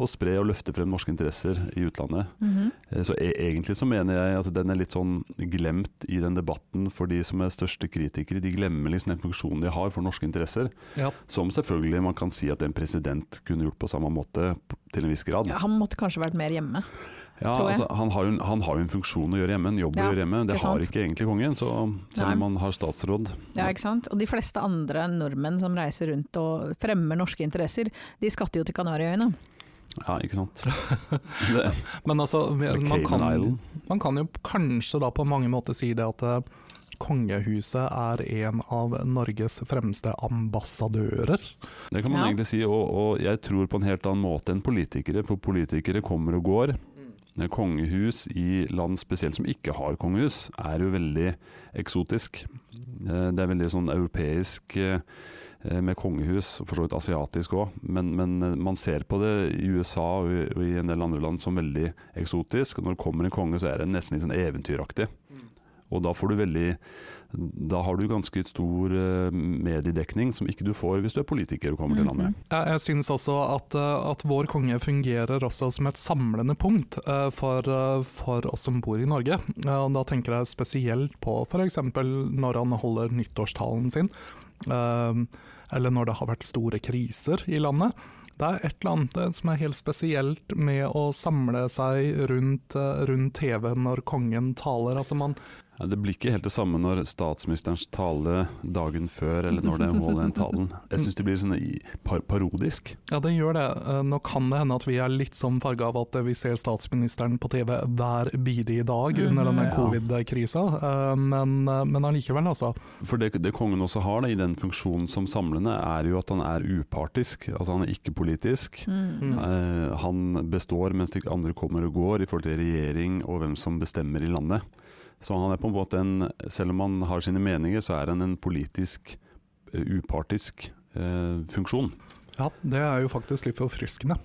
Speaker 2: å spre og løfte frem norske interesser i utlandet.
Speaker 3: Mhm.
Speaker 2: Eh, Så e egentlig så mener jeg at den er litt sånn glemt i den debatten for de som er største kritikere. De glemmer liksom den funksjonen de har for norske interesser.
Speaker 4: Ja.
Speaker 2: Som selvfølgelig man kan si at en president kunne gjort på samme måte p- til en viss grad.
Speaker 3: Ja, han måtte kanskje vært mer hjemme.
Speaker 2: Ja,
Speaker 3: tror jeg.
Speaker 2: altså, han, har jo en, han har jo en funksjon å gjøre hjemme, en jobb å
Speaker 3: Ja,
Speaker 2: gjøre hjemme. Det
Speaker 3: ikke
Speaker 2: har
Speaker 3: sant.
Speaker 2: ikke egentlig kongen, så selv om
Speaker 3: Nei.
Speaker 2: han har statsråd.
Speaker 3: Ja, ikke sant? Og de fleste andre nordmenn som reiser rundt og fremmer norske interesser, de skatter jo til Kanariøyene.
Speaker 2: Ja, ikke sant. Det,
Speaker 4: Men altså, vi-
Speaker 2: eller Cayman
Speaker 4: man kan,
Speaker 2: Island.
Speaker 4: Man kan jo kanskje da på mange måter si det at eh, kongehuset er en av Norges fremste ambassadører.
Speaker 2: Det kan man
Speaker 3: Ja.
Speaker 2: egentlig si, og, og jeg tror på en helt annen måte enn politikere, for politikere kommer og går. Eh, Kongehus i land spesielt som ikke har kongehus, er jo veldig eksotisk. Eh, Det er veldig sånn europeisk eh, eh, med kongehus, for så vidt asiatisk òg, men, men eh, man ser på det i USA og i- og i en del andre land som veldig eksotisk. Og når det kommer en konge, så er det nesten litt sånn eventyraktig. Og da får du veldig Da har du ganske stor eh, mediedekning som ikke du får hvis du er politiker og
Speaker 3: Mhm.
Speaker 2: kommer til landet.
Speaker 4: Eh, Jeg, jeg syns også at, eh, at vår konge fungerer også som et samlende punkt eh, for, eh, for oss som bor i Norge. Eh, Og da tenker jeg spesielt på f.eks. når han holder nyttårstalen sin, eh, eller når det har vært store kriser i landet. Det er et eller annet eh, som er helt spesielt med å samle seg rundt, eh, rundt TV når kongen taler. Altså man,
Speaker 2: Ja, Det blir ikke helt det samme når statsministerens tale dagen før, eller når det holder den talen. Jeg syns det blir sånn i- par parodisk.
Speaker 4: Ja, det gjør det. Eh, Nå kan det hende at vi er litt som farga av at eh, vi ser statsministeren på TV hver bidige dag under denne
Speaker 2: Ja.
Speaker 4: covid-krisa, eh, men, eh, men allikevel, altså.
Speaker 2: For det, det kongen også har da, i den funksjonen som samlende, er jo at han er upartisk. Altså han er ikke politisk.
Speaker 3: Mhm.
Speaker 4: Mm.
Speaker 2: Eh, han består mens de andre kommer og går i forhold til regjering og hvem som bestemmer i landet. Så han er på en måte en, selv om han har sine meninger, så er han en politisk, eh, upartisk eh, funksjon.
Speaker 4: Ja, det er jo faktisk litt forfriskende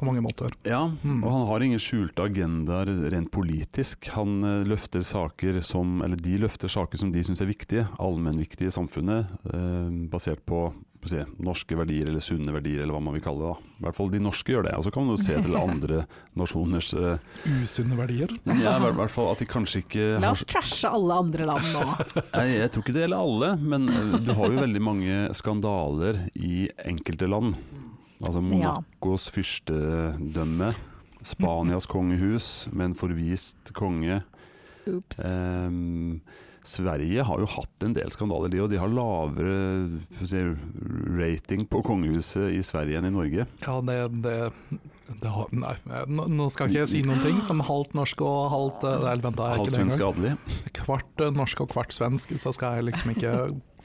Speaker 4: på mange måter.
Speaker 2: Ja,
Speaker 4: Mm.
Speaker 3: Hmm.
Speaker 2: og han har ingen skjulte agendaer rent politisk. Han eh, løfter saker som, eller de løfter saker som de syns er viktige, allmennviktige i samfunnet, eh, basert på på å si, norske verdier eller sunne verdier, eller hva man vil kalle det. da. I hvert fall de norske gjør det. Og så kan man jo se til andre nasjoners eh,
Speaker 4: Usunne verdier.
Speaker 2: ja, i hvert- hvert fall at de kanskje ikke
Speaker 3: La
Speaker 2: har
Speaker 3: oss trashe alle andre land nå.
Speaker 2: Nei, jeg tror ikke det gjelder alle, men eh, du har jo veldig mange skandaler i enkelte land. Altså Monacos fyrstedømme, Spanias kongehus med en forvist konge.
Speaker 3: Ups.
Speaker 2: Ehm, Sverige har jo hatt en del skandaler, de, og de har lavere hva sier du, rating på kongehuset i Sverige enn i Norge.
Speaker 4: Ja, det, det, det har, Nei, eh, nå nå skal ikke jeg si noen ting som halvt norsk og halvt eh, Nei, vent, da er jeg ikke det
Speaker 2: Halvsvensk
Speaker 4: engang.
Speaker 2: adelig.
Speaker 4: Kvart eh, norsk og kvart svensk, så skal jeg liksom ikke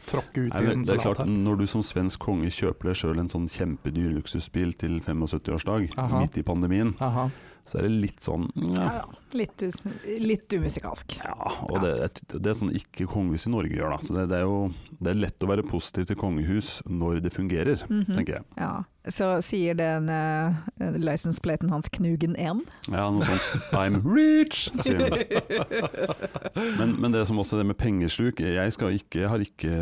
Speaker 4: tråkke ut
Speaker 2: Nei,
Speaker 4: i
Speaker 2: men
Speaker 4: en
Speaker 2: det er
Speaker 4: salat
Speaker 2: klart,
Speaker 4: her.
Speaker 2: når du som svensk konge kjøper deg sjøl en sånn kjempedyr luksusbil til 75-årsdag,
Speaker 4: Aha.
Speaker 2: midt i pandemien,
Speaker 4: Aha.
Speaker 2: så er det litt sånn
Speaker 3: Ja,
Speaker 2: ja,
Speaker 3: ja. Litt, us- litt umusikalsk.
Speaker 2: Ja, og det, det- det er sånn ikke kongehus i Norge gjør, da. Så det, det er jo det er lett å være positiv til kongehus når det fungerer,
Speaker 3: Mhm.
Speaker 2: tenker jeg.
Speaker 3: Ja. Så sier den uh, licenseplaten hans Knugen 1.
Speaker 2: Ja, noe sånt. I'm rich, sier hun. Men, men det som også det med pengesluk Jeg skal ikke, jeg har ikke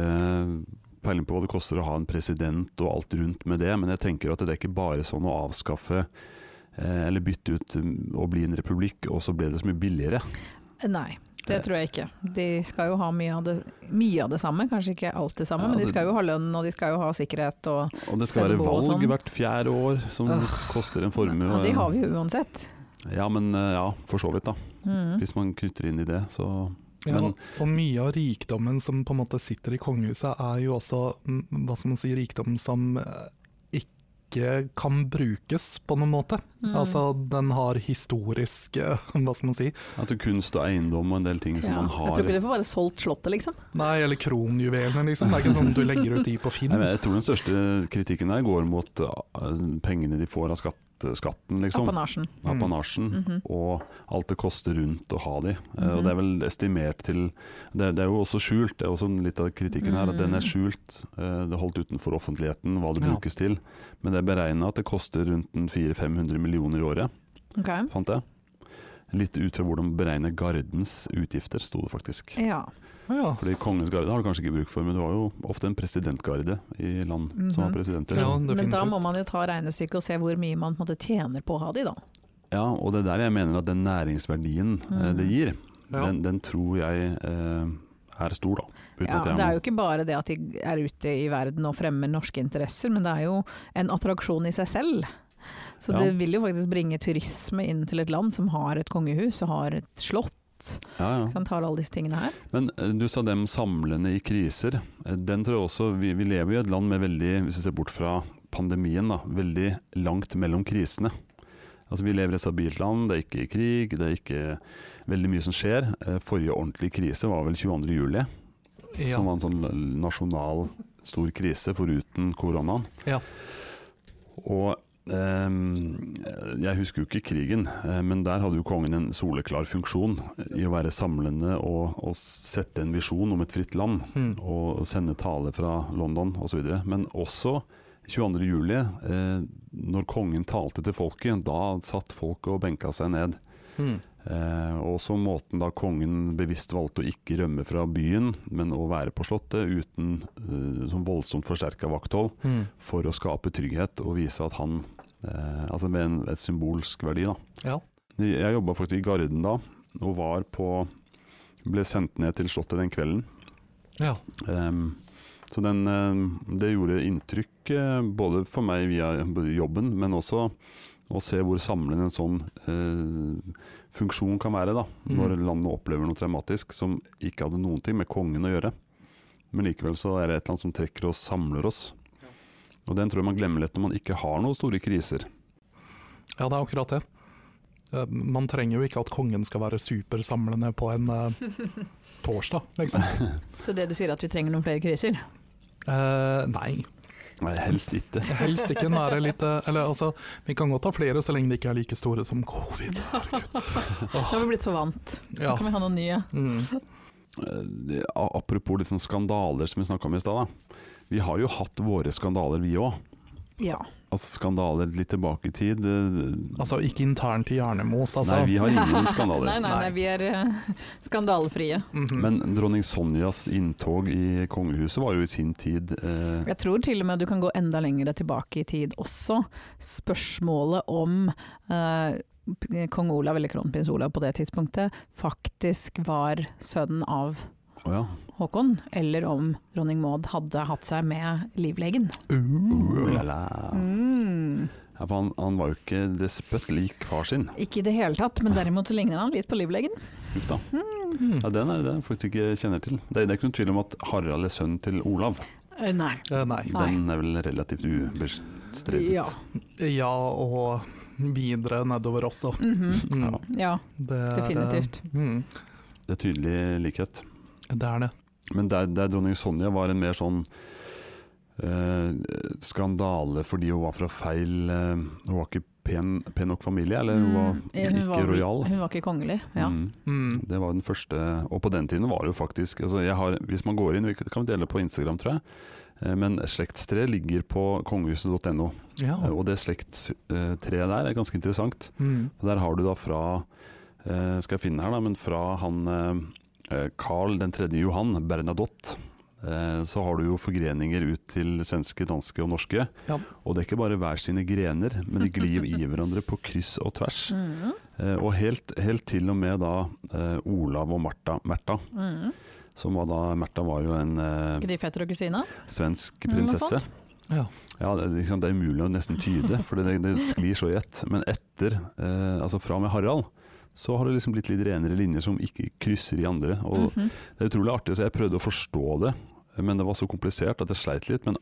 Speaker 2: peiling på hva det koster å ha en president og alt rundt med det, men jeg tenker at det er ikke bare sånn å avskaffe eh, eller bytte ut mm, og bli en republikk, og så ble det så mye billigere.
Speaker 3: Eh, Nei,
Speaker 2: Eh.
Speaker 3: det tror jeg ikke. De skal jo ha mye av det, mye av det samme, kanskje ikke alt det samme,
Speaker 2: Ja,
Speaker 3: men de
Speaker 2: altså-
Speaker 3: skal jo ha lønn og de skal jo ha sikkerhet og
Speaker 2: Og det skal
Speaker 3: Skal
Speaker 2: være
Speaker 3: det gå
Speaker 2: valg
Speaker 3: sånn?
Speaker 2: hvert fjerde år, som
Speaker 3: Åh.
Speaker 2: koster en formue.
Speaker 3: Ja,
Speaker 2: og
Speaker 3: de
Speaker 2: en-
Speaker 3: har vi jo uansett.
Speaker 2: Ja, men eh, ja, for så vidt, da.
Speaker 3: Mhm.
Speaker 2: Hvis man knytter inn i det, så
Speaker 4: Ja,
Speaker 2: Men-
Speaker 4: og mye av rikdommen som på en måte sitter i kongehuset, er jo også mm, hva skal man si, rikdom som eh, ikke kan brukes på noen måte.
Speaker 2: Mm.
Speaker 3: Mhm.
Speaker 4: Altså, den har historisk eh, Hva skal man si?
Speaker 2: altså kunst og eiendom og en del ting som
Speaker 3: Ja.
Speaker 2: man
Speaker 3: Jeg tror
Speaker 2: har
Speaker 3: ikke du får bare solgt slottet, liksom.
Speaker 4: Nei, eller kronjuvelene, liksom. Det er ikke sånn at du legger ut de på Finn.
Speaker 2: Nei, men Jeg tror den største kritikken der går mot eh, pengene de får av skatt, skatten, liksom.
Speaker 3: Apanasjen.
Speaker 2: Apanasjen.
Speaker 3: Mhm.
Speaker 2: Og alt det koster rundt å ha de. Eh,
Speaker 3: Mhm.
Speaker 2: Og Det er vel estimert til det, det er jo også skjult, det er også litt av kritikken her. At den
Speaker 3: Mm.
Speaker 2: er skjult, eh, det er holdt utenfor offentligheten hva det
Speaker 4: Ja.
Speaker 2: brukes til. Men det er beregna at det koster rundt en 400-500 millioner i året.
Speaker 3: Ok.
Speaker 2: fant jeg. Litt ut fra hvordan beregne gardens utgifter, sto det faktisk.
Speaker 3: Ja.
Speaker 4: Ja,
Speaker 2: Fordi Kongens garde har du kanskje ikke bruk for, men du har jo ofte en presidentgarde i land som har
Speaker 3: Mhm.
Speaker 2: presidenter.
Speaker 4: Ja,
Speaker 2: Ja.
Speaker 3: Men da må
Speaker 4: definitivt.
Speaker 3: man jo ta regnestykket og se hvor mye man på en måte tjener på å ha de, da.
Speaker 2: og det er der jeg mener at den næringsverdien eh,
Speaker 3: Mhm.
Speaker 2: det gir,
Speaker 4: Ja.
Speaker 2: den, den tror jeg eh, er stor, da. Uten
Speaker 3: Ja,
Speaker 2: at jeg
Speaker 3: det er jo ikke bare det at de er ute i verden og fremmer norske interesser, men det er jo en attraksjon i seg selv. Så
Speaker 2: Ja.
Speaker 3: det vil jo faktisk bringe turisme inn til et land som har et kongehus og har et slott.
Speaker 2: ja, ja.
Speaker 3: Ikke sant, har alle disse tingene her.
Speaker 2: Men eh, du sa dem samlende i kriser. Eh, Den tror jeg også, vi, vi lever jo i et land med veldig, hvis vi ser bort fra pandemien, da, veldig langt mellom krisene. Altså Vi lever i et stabilt land, det er ikke krig, det er ikke veldig mye som skjer. Eh, Forrige ordentlige krise var vel 22. juli,
Speaker 4: Ja.
Speaker 2: som var en sånn l- nasjonal stor krise foruten koronaen.
Speaker 4: Ja.
Speaker 2: Og ehm, jeg husker jo ikke krigen, eh, men der hadde jo kongen en soleklar funksjon i å være samlende og, og sette en visjon om et fritt land,
Speaker 4: Mm.
Speaker 2: og sende tale fra London osv. Men også 22. juli, eh, når kongen talte til folket, da satt folk og benka seg ned.
Speaker 4: Mm.
Speaker 2: Eh, og så måten da kongen bevisst valgte å ikke rømme fra byen, men å være på slottet uten eh, sånn voldsomt forsterka vakthold,
Speaker 4: Mm.
Speaker 2: for å skape trygghet og vise at han eh, Altså med en, et symbolsk verdi, da.
Speaker 4: Ja.
Speaker 2: Jeg jobba faktisk i Garden da, og var på Ble sendt ned til slottet den kvelden.
Speaker 4: ja.
Speaker 2: Ehm, så den, eh, det gjorde inntrykk eh, både for meg via jobben, men også å se hvor samlende en sånn eh, funksjon kan være. da,
Speaker 4: Mm.
Speaker 2: Når landet opplever noe traumatisk som ikke hadde noen ting med kongen å gjøre. Men likevel så er det et eller annet som trekker oss, samler oss. Og den tror jeg man glemmer lett når man ikke har noen store kriser.
Speaker 4: Ja, det er akkurat det. Eh, Man trenger jo ikke at kongen skal være supersamlende på en eh, torsdag, liksom.
Speaker 3: Så det du sier at vi trenger noen flere kriser?
Speaker 4: Eh, nei.
Speaker 2: Nei, helst ikke.
Speaker 4: Helst ikke være litt eh, Eller altså, vi kan godt ha flere så lenge de ikke er like store som covid.
Speaker 3: Nå har vi blitt så vant. Nå
Speaker 4: Ja.
Speaker 3: kan vi ha noen nye.
Speaker 4: Mm.
Speaker 2: Eh, a- Apropos litt sånn skandaler som vi snakka om i stad. da. Vi har jo hatt våre skandaler, vi òg.
Speaker 3: Ja.
Speaker 2: Altså skandaler litt tilbake i tid. eh,
Speaker 4: Altså, ikke internt i Hjernemos, altså.
Speaker 2: Nei, vi har ingen skandaler.
Speaker 3: Nei, nei, nei, vi er eh, skandalefrie.
Speaker 4: Mhm.
Speaker 2: Men dronning Sonjas inntog i kongehuset var jo i sin tid eh,
Speaker 3: Jeg tror til og med du kan gå enda lenger tilbake i tid også. Spørsmålet om eh, p- kong Olav, eller kronprins Olav på det tidspunktet, faktisk var sønnen av
Speaker 2: Å ja.
Speaker 3: Håkon, eller om dronning Maud hadde hatt seg med livlegen.
Speaker 2: Uh,
Speaker 4: Uh,
Speaker 2: la, la.
Speaker 3: Mm.
Speaker 2: ja for han, han var jo ikke despot lik far sin.
Speaker 3: Ikke i det hele tatt, men derimot så ligner han litt på livlegen.
Speaker 2: Uff da.
Speaker 4: mm.
Speaker 2: Ja, den er det jeg faktisk ikke kjenner til. Det, er- det er ikke noen tvil om at Harald er sønn til Olav.
Speaker 3: Eh, nei.
Speaker 4: Eh, Nei.
Speaker 3: Nei.
Speaker 2: Den er vel relativt ubestredet.
Speaker 3: Ja.
Speaker 4: Ja, og videre nedover også.
Speaker 3: Mhm.
Speaker 4: Mm.
Speaker 2: Ja.
Speaker 3: ja.
Speaker 4: Det er, eh,
Speaker 3: Definitivt.
Speaker 4: Mm.
Speaker 2: Det er tydelig likhet.
Speaker 4: Det er det.
Speaker 2: Men der, der dronning Sonja var en mer sånn eh, skandale fordi hun var fra feil eh, Hun var ikke pen, pen nok familie, eller hun var
Speaker 3: Mm, eh,
Speaker 2: ikke
Speaker 3: var-
Speaker 2: rojal.
Speaker 3: Hun var ikke kongelig, ja.
Speaker 2: Mm.
Speaker 4: Mm.
Speaker 2: Det var den første, og på den tiden var det jo faktisk altså jeg har, Hvis man går inn, vi kan dele på Instagram, tror jeg. eh, Men slektstreet ligger på kongehuset.no.
Speaker 4: Ja.
Speaker 2: Eh, Og det slektstreet der er ganske interessant.
Speaker 4: Mm.
Speaker 2: Og Der har du da fra eh, Skal jeg finne her, da, men fra han eh, Carl 3. Johan, Bernadotte. eh, Så har du jo forgreninger ut til svenske, danske og norske.
Speaker 4: Ja.
Speaker 2: Og det er ikke bare hver sine grener, men de glir i hverandre på kryss og tvers.
Speaker 3: Mhm.
Speaker 2: Eh, Og helt, helt til og med da eh, Olav og Martha, Märtha,
Speaker 3: Mhm.
Speaker 2: som var da Märtha var jo en eh,
Speaker 3: Ikke de fetter og kusiner?
Speaker 2: svensk
Speaker 3: Mm, noe
Speaker 2: prinsesse.
Speaker 3: sånt.
Speaker 4: Ja.
Speaker 2: Ja, det, er liksom, det er umulig å nesten tyde, for det, det sklir så i ett. Men etter, eh, altså fra og med Harald, så har det liksom blitt litt renere linjer som ikke krysser i andre. Og
Speaker 3: Mhm.
Speaker 2: det er utrolig artig, så jeg prøvde å forstå det. Men det var så komplisert at jeg sleit litt. Men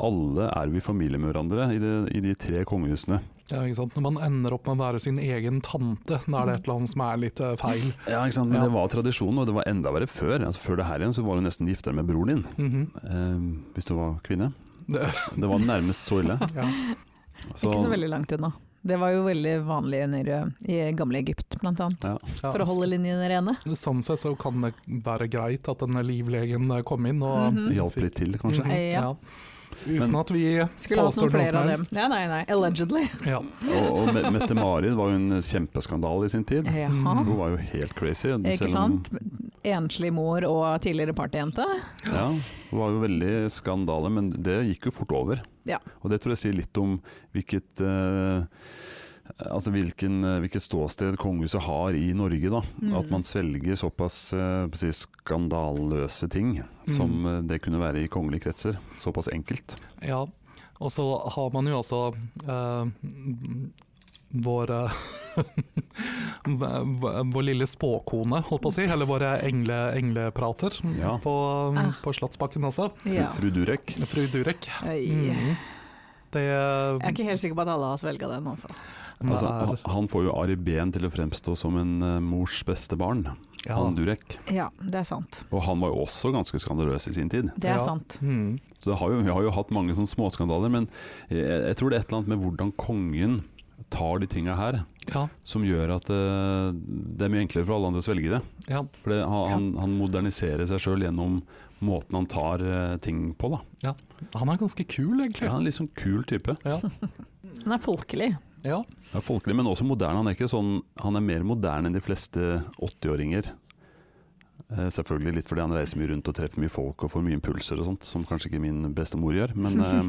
Speaker 2: alle er jo i familie med hverandre i, det, i de tre kongehusene.
Speaker 4: ja, ikke sant. Når man ender opp med å være sin egen tante, da er det et eller annet som er litt eh, feil.
Speaker 2: Ja, ikke sant? Men
Speaker 4: Ja.
Speaker 2: det var tradisjonen, og det var enda verre før. Altså, før det her igjen så var du nesten giftere med broren din.
Speaker 4: Mhm.
Speaker 2: Eh, hvis du var kvinne.
Speaker 4: det,
Speaker 2: Det var nærmest så ille.
Speaker 4: ja.
Speaker 2: Så-
Speaker 3: Ikke så veldig langt unna. Det var jo veldig vanlig under, eh, i gamle Egypt blant annet,
Speaker 4: Ja,
Speaker 3: for å holde linjene rene.
Speaker 4: Sånn sett så kan det være greit at denne livlegen eh, kom inn og
Speaker 3: Mhm.
Speaker 2: Hjalp litt til, kanskje.
Speaker 4: Mhm,
Speaker 3: Eh, ja.
Speaker 4: Uten at vi
Speaker 3: Skulle hatt noen
Speaker 4: påstår noe
Speaker 3: flere
Speaker 4: som
Speaker 3: av dem.
Speaker 4: helst.
Speaker 3: Ja, nei, nei, allegedly.
Speaker 4: Ja.
Speaker 2: Og, og Me- Mette-Marit var jo en kjempeskandale i sin tid.
Speaker 3: Jaha.
Speaker 2: Hun var jo helt crazy.
Speaker 3: Ikke
Speaker 2: Mm, selv om-
Speaker 3: sant? Enslig mor og tidligere partyjente.
Speaker 2: Ja, hun var jo veldig skandale, men det gikk jo fort over.
Speaker 3: Ja.
Speaker 2: Og det tror jeg sier litt om hvilket eh, Altså hvilken, hvilket ståsted kongehuset har i Norge. da.
Speaker 3: Mm.
Speaker 2: At man svelger såpass eh, på å si, skandaløse ting
Speaker 3: Mm.
Speaker 2: som eh, det kunne være i kongelige kretser. Såpass enkelt.
Speaker 4: Ja, og så har man jo også eh, våre v- Vår lille spåkone, holdt på å si, eller våre engle, engleprater
Speaker 2: Ja.
Speaker 4: på, um,
Speaker 3: Ah.
Speaker 4: på Slottsbakken også.
Speaker 3: Ja.
Speaker 2: Fru Durek.
Speaker 4: Fru Durek.
Speaker 3: Øy.
Speaker 4: Mm. Det
Speaker 3: Jeg er ikke helt sikker på at alle har svelga den, altså.
Speaker 2: Altså,
Speaker 4: er-
Speaker 2: han- han får jo Ari Behn til å fremstå som en eh, mors beste barn,
Speaker 4: ja.
Speaker 2: han Durek.
Speaker 3: Ja, det er sant.
Speaker 2: Og han var jo også ganske skandaløs i sin tid.
Speaker 3: Det er
Speaker 4: Ja.
Speaker 3: sant.
Speaker 4: Mm.
Speaker 2: Så det har jo, vi har jo hatt mange sånne småskandaler, men jeg, jeg tror det er et eller annet med hvordan kongen tar de tinga her,
Speaker 4: ja.
Speaker 2: som gjør at eh, det er mye enklere for alle andre å svelge det.
Speaker 4: Ja.
Speaker 2: For det, han, han- han moderniserer seg sjøl gjennom måten han tar eh, ting på, da.
Speaker 4: Han er ganske kul, egentlig.
Speaker 2: Ja, en litt sånn kul type.
Speaker 4: Ja.
Speaker 3: Den er folkelig.
Speaker 4: ja.
Speaker 2: Ja, folkelig, men også moderne. Han er, ikke sånn, han er mer moderne enn de fleste 80-åringer. Eh, selvfølgelig litt fordi han reiser mye rundt og treffer mye folk og får mye impulser og sånt, som kanskje ikke min bestemor gjør. Men, eh,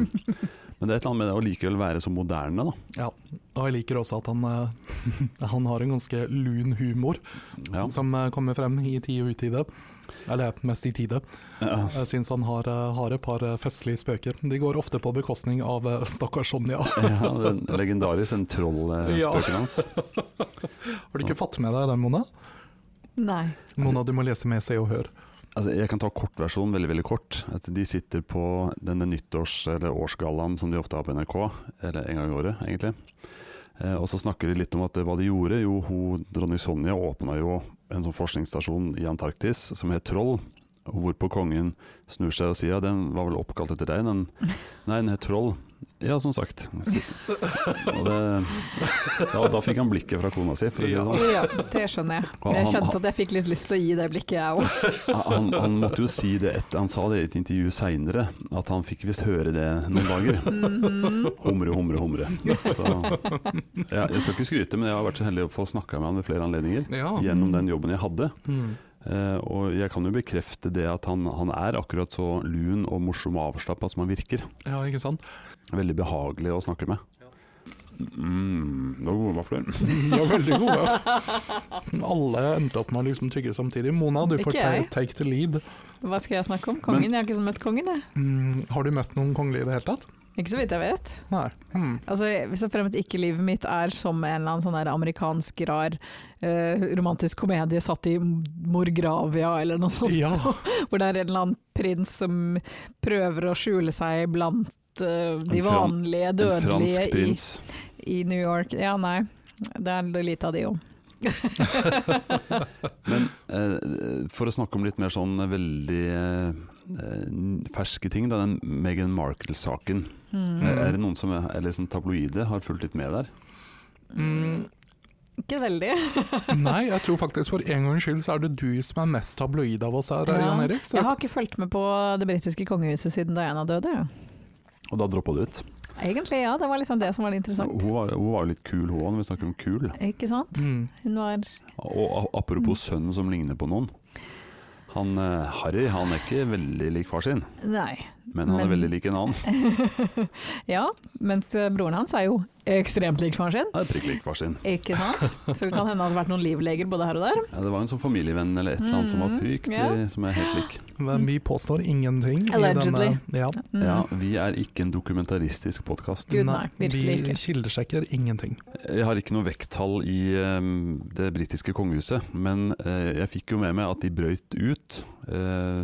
Speaker 2: men det er et eller annet med det å likevel være så moderne, da.
Speaker 4: Ja, og jeg liker også at han, eh, han har en ganske lun humor
Speaker 2: Ja.
Speaker 4: som eh, kommer frem i tide og utide. Eller mest i tide.
Speaker 2: Ja.
Speaker 4: Jeg syns han har, eh, har et par eh, festlige spøker. De går ofte på bekostning av eh, stakkars Sonja.
Speaker 2: Ja, den legendarisk, den
Speaker 4: Ja.
Speaker 2: trollspøken hans.
Speaker 4: Har du ikke fått med deg den, Mona?
Speaker 3: Nei.
Speaker 4: Mona, du må lese med Se og Hør.
Speaker 2: Altså, jeg kan ta kortversjonen veldig veldig kort. At de sitter på denne nyttårs- eller årsgallaen som de ofte har på NRK, eller en gang i året, egentlig. Eh, og så snakker de litt om at eh, hva de gjorde. Jo, hun, dronning Sonja åpna jo en sånn forskningsstasjon i Antarktis som het Troll. Hvorpå kongen snur seg og sier ja, den var vel oppkalt etter deg, den Nei, den het Troll. Ja, som sagt. Så- Og det, ja, da fikk han blikket fra kona si, for å si det sånn.
Speaker 3: Ja, det skjønner jeg.
Speaker 2: Og
Speaker 3: Men jeg
Speaker 2: han-
Speaker 3: kjente at jeg fikk litt lyst til å gi det blikket, jeg òg.
Speaker 2: Han, han måtte jo si det et, Han sa det i et intervju seinere, at han fikk visst høre det noen dager.
Speaker 3: Mm.
Speaker 2: Humre, humre, humre. Så, ja, jeg skal ikke skryte, men jeg har vært så heldig å få snakka med han ved flere anledninger
Speaker 4: Ja.
Speaker 2: gjennom den jobben jeg hadde.
Speaker 4: Mm.
Speaker 2: Eh, og jeg kan jo bekrefte det at han, han er akkurat så lun og morsom og avslappa som han virker.
Speaker 4: ja, ikke sant?
Speaker 2: Veldig behagelig å snakke med. Mm, det var gode vafler.
Speaker 4: De var veldig gode. Alle endte opp med å liksom tygge samtidig. Mona, du
Speaker 3: Ikke
Speaker 4: får ta-
Speaker 3: jeg.
Speaker 4: take the lead.
Speaker 3: Hva skal jeg snakke om? Kongen? Jeg har ikke møtt kongen, jeg.
Speaker 4: Mm, har du møtt noen kongelige i det hele tatt?
Speaker 3: Ikke så vidt jeg vet.
Speaker 4: Nei. Mm.
Speaker 3: Altså, Så fremt ikke livet mitt er som en eller annen sånn der amerikansk rar eh, romantisk komedie satt i Morgravia eller noe sånt,
Speaker 4: Ja.
Speaker 3: hvor det er en eller annen prins som prøver å skjule seg blant eh, de
Speaker 2: En fran-
Speaker 3: vanlige
Speaker 2: En
Speaker 3: dødelige
Speaker 2: fransk
Speaker 3: i,
Speaker 2: prins.
Speaker 3: i New York. Ja, nei. Det er lite av de òg.
Speaker 2: Men eh, for å snakke om litt mer sånn veldig eh, n- ferske ting, da, den Meghan Markle-saken.
Speaker 3: Hmm.
Speaker 2: Eh, Er det noen som er, eller sånn tabloide har fulgt litt med der?
Speaker 4: Mm.
Speaker 3: Ikke veldig.
Speaker 4: Nei, jeg tror faktisk for en gangs skyld så er det du som er mest tabloid av oss her,
Speaker 3: Ja.
Speaker 4: Jan Erik. Så
Speaker 3: Jeg har ikke fulgt med på det britiske kongehuset siden Diana døde.
Speaker 2: Og da droppa det ut.
Speaker 3: Egentlig, ja. Det var liksom det som var det interessante.
Speaker 2: Hun var, hun var jo litt kul, hun òg, når vi snakker om kul.
Speaker 3: Ikke sant?
Speaker 4: Mm.
Speaker 3: Hun var
Speaker 2: Og a-
Speaker 3: Mm.
Speaker 2: apropos sønnen som ligner på noen. Han eh, Harry han er ikke veldig lik far sin,
Speaker 3: Nei.
Speaker 2: men han er
Speaker 3: Men-
Speaker 2: veldig lik en annen.
Speaker 3: Ja, mens eh, broren hans er jo ekstremt lik faren sin.
Speaker 2: Han er prikk lik far sin.
Speaker 3: Ikke sant? Så det kan hende det hadde vært noen livleger både her og der.
Speaker 2: Ja, det var en sånn familievenn eller et eller annet som var
Speaker 3: Mm,
Speaker 2: fryktelig,
Speaker 3: ja.
Speaker 2: som er helt lik.
Speaker 4: Men vi påstår ingenting. i
Speaker 3: Allegedly.
Speaker 4: Denne, ja.
Speaker 3: Mm.
Speaker 2: Ja, vi er ikke en dokumentaristisk podkast.
Speaker 3: Gud, nei, virkelig
Speaker 4: vi
Speaker 3: ikke.
Speaker 4: kildesjekker ingenting.
Speaker 2: Jeg har ikke noe vekttall i eh, det britiske kongehuset, men eh, jeg fikk jo med meg at de brøyt ut. Eh,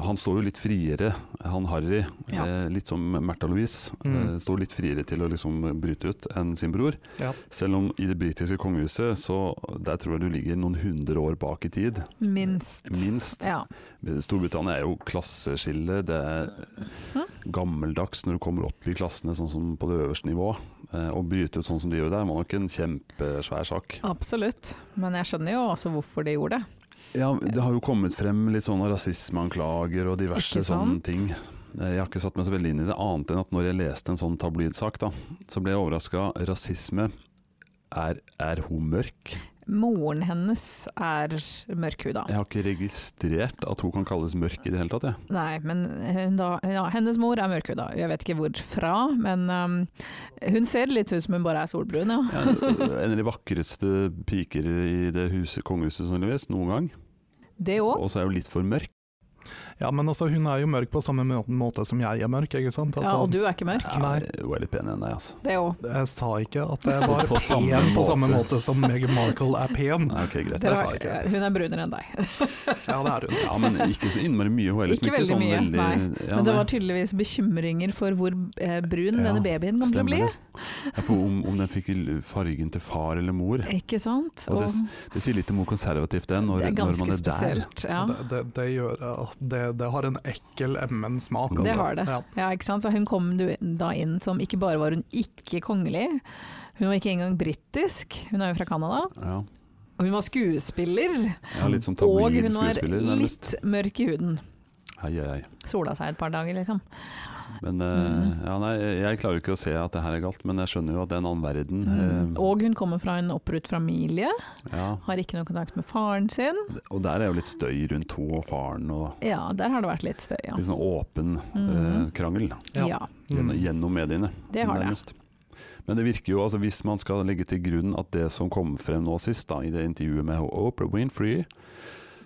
Speaker 2: han står jo litt friere, han Harry,
Speaker 3: Ja.
Speaker 2: eh, litt som Märtha Louise,
Speaker 4: Mm.
Speaker 2: eh, står litt friere til å liksom bryte ut enn sin bror.
Speaker 4: Ja.
Speaker 2: Selv om i det britiske kongehuset, så der tror jeg du ligger noen hundre år bak i tid,
Speaker 3: Minst.
Speaker 2: minst.
Speaker 3: Ja.
Speaker 2: Storbritannia er jo klasseskille. Det er gammeldags når du kommer opp i klassene, sånn som på det øverste nivå. Eh, Å bryte ut sånn som de gjør der, var nok en kjempesvær sak.
Speaker 3: Absolutt. Men jeg skjønner jo også hvorfor de gjorde det.
Speaker 2: Ja, Det har jo kommet frem litt sånne rasismeanklager og diverse
Speaker 3: Ikke
Speaker 2: sånne
Speaker 3: sant?
Speaker 2: ting. Eh, Jeg har ikke satt meg så veldig inn i det, annet enn at når jeg leste en sånn tabloidsak, da, så ble jeg overraska. Rasisme er, er hun mørk?
Speaker 3: Moren hennes er mørkhuda.
Speaker 2: Jeg har ikke registrert at hun kan kalles mørk i det hele tatt, jeg.
Speaker 3: Nei, men hun da, ja, hennes mor er mørkhuda. Jeg vet ikke hvorfra, men um, hun ser litt ut som hun bare er solbrun, ja.
Speaker 2: Ja, en av de vakreste piker i det huset, kongehuset sannsynligvis, noen gang.
Speaker 3: Det òg.
Speaker 2: Og så er hun litt for mørk.
Speaker 4: Ja, men altså, hun er jo mørk på samme må- måte som jeg er mørk, ikke sant? Altså,
Speaker 3: Ja, og du er ikke mørk.
Speaker 4: Nei.
Speaker 2: Hun er litt pen enn deg, altså.
Speaker 3: Det òg.
Speaker 4: Jeg sa ikke at jeg var
Speaker 2: På
Speaker 4: på
Speaker 2: samme
Speaker 4: pen på
Speaker 2: måte.
Speaker 4: samme måte som Meghan Markle er pen.
Speaker 2: Nei, ok, greit.
Speaker 4: Det sa
Speaker 3: Dere-
Speaker 4: jeg ikke.
Speaker 3: Hun er brunere enn deg.
Speaker 4: Ja, det er hun.
Speaker 2: Ja, men ikke så innmari mye. Hun er liksom ikke,
Speaker 3: Ikke veldig
Speaker 2: sånn
Speaker 3: mye,
Speaker 2: veldig
Speaker 3: nei.
Speaker 2: ja,
Speaker 3: Men det
Speaker 2: nei.
Speaker 3: var tydeligvis bekymringer for hvor eh, brun
Speaker 2: Ja,
Speaker 3: denne babyen kommer til å
Speaker 2: Stemmer
Speaker 3: bli.
Speaker 2: det. Ja, for om, om den fikk fargen til far eller mor.
Speaker 3: Ikke sant?
Speaker 2: Og det, det sier litt om hvor konservativt det er når,
Speaker 3: det er
Speaker 2: når
Speaker 3: ganske
Speaker 2: man er der.
Speaker 3: spesielt. Ja.
Speaker 4: Det, det, det gjør at det, det har en ekkel MN-smak.
Speaker 2: Det
Speaker 4: Altså.
Speaker 3: har det.
Speaker 4: Ja.
Speaker 3: Ja, ikke sant? Så hun kom du- da inn som ikke bare var hun ikke kongelig, hun var ikke engang britisk, hun er jo fra Canada.
Speaker 2: Ja.
Speaker 3: Og hun var skuespiller,
Speaker 2: ja, litt som
Speaker 3: og
Speaker 2: tabloid
Speaker 3: hun var
Speaker 2: skuespiller, nærmest.
Speaker 3: litt mørk i huden.
Speaker 2: Hei, hei, hei.
Speaker 3: Sola seg et par dager, liksom.
Speaker 2: Men eh,
Speaker 3: Mm.
Speaker 2: ja, nei, jeg klarer jo ikke å se at det her er galt, men jeg skjønner jo at det er en annen verden. eh,
Speaker 3: Mm. Og hun kommer fra en opprutt familie,
Speaker 2: ja.
Speaker 3: har ikke noe kontakt med faren sin.
Speaker 2: Og der er jo litt støy rundt henne og faren, og
Speaker 3: Ja, der har det vært litt støy, ja.
Speaker 2: litt sånn åpen
Speaker 3: Mhm.
Speaker 2: eh, krangel
Speaker 4: Ja.
Speaker 3: ja
Speaker 2: gjennom,
Speaker 4: Mm.
Speaker 2: gjennom mediene.
Speaker 3: det har det.
Speaker 2: nærmest. Men det virker jo, altså hvis man skal legge til grunn at det som kom frem nå sist, da, i det intervjuet med Oprah Winfrey,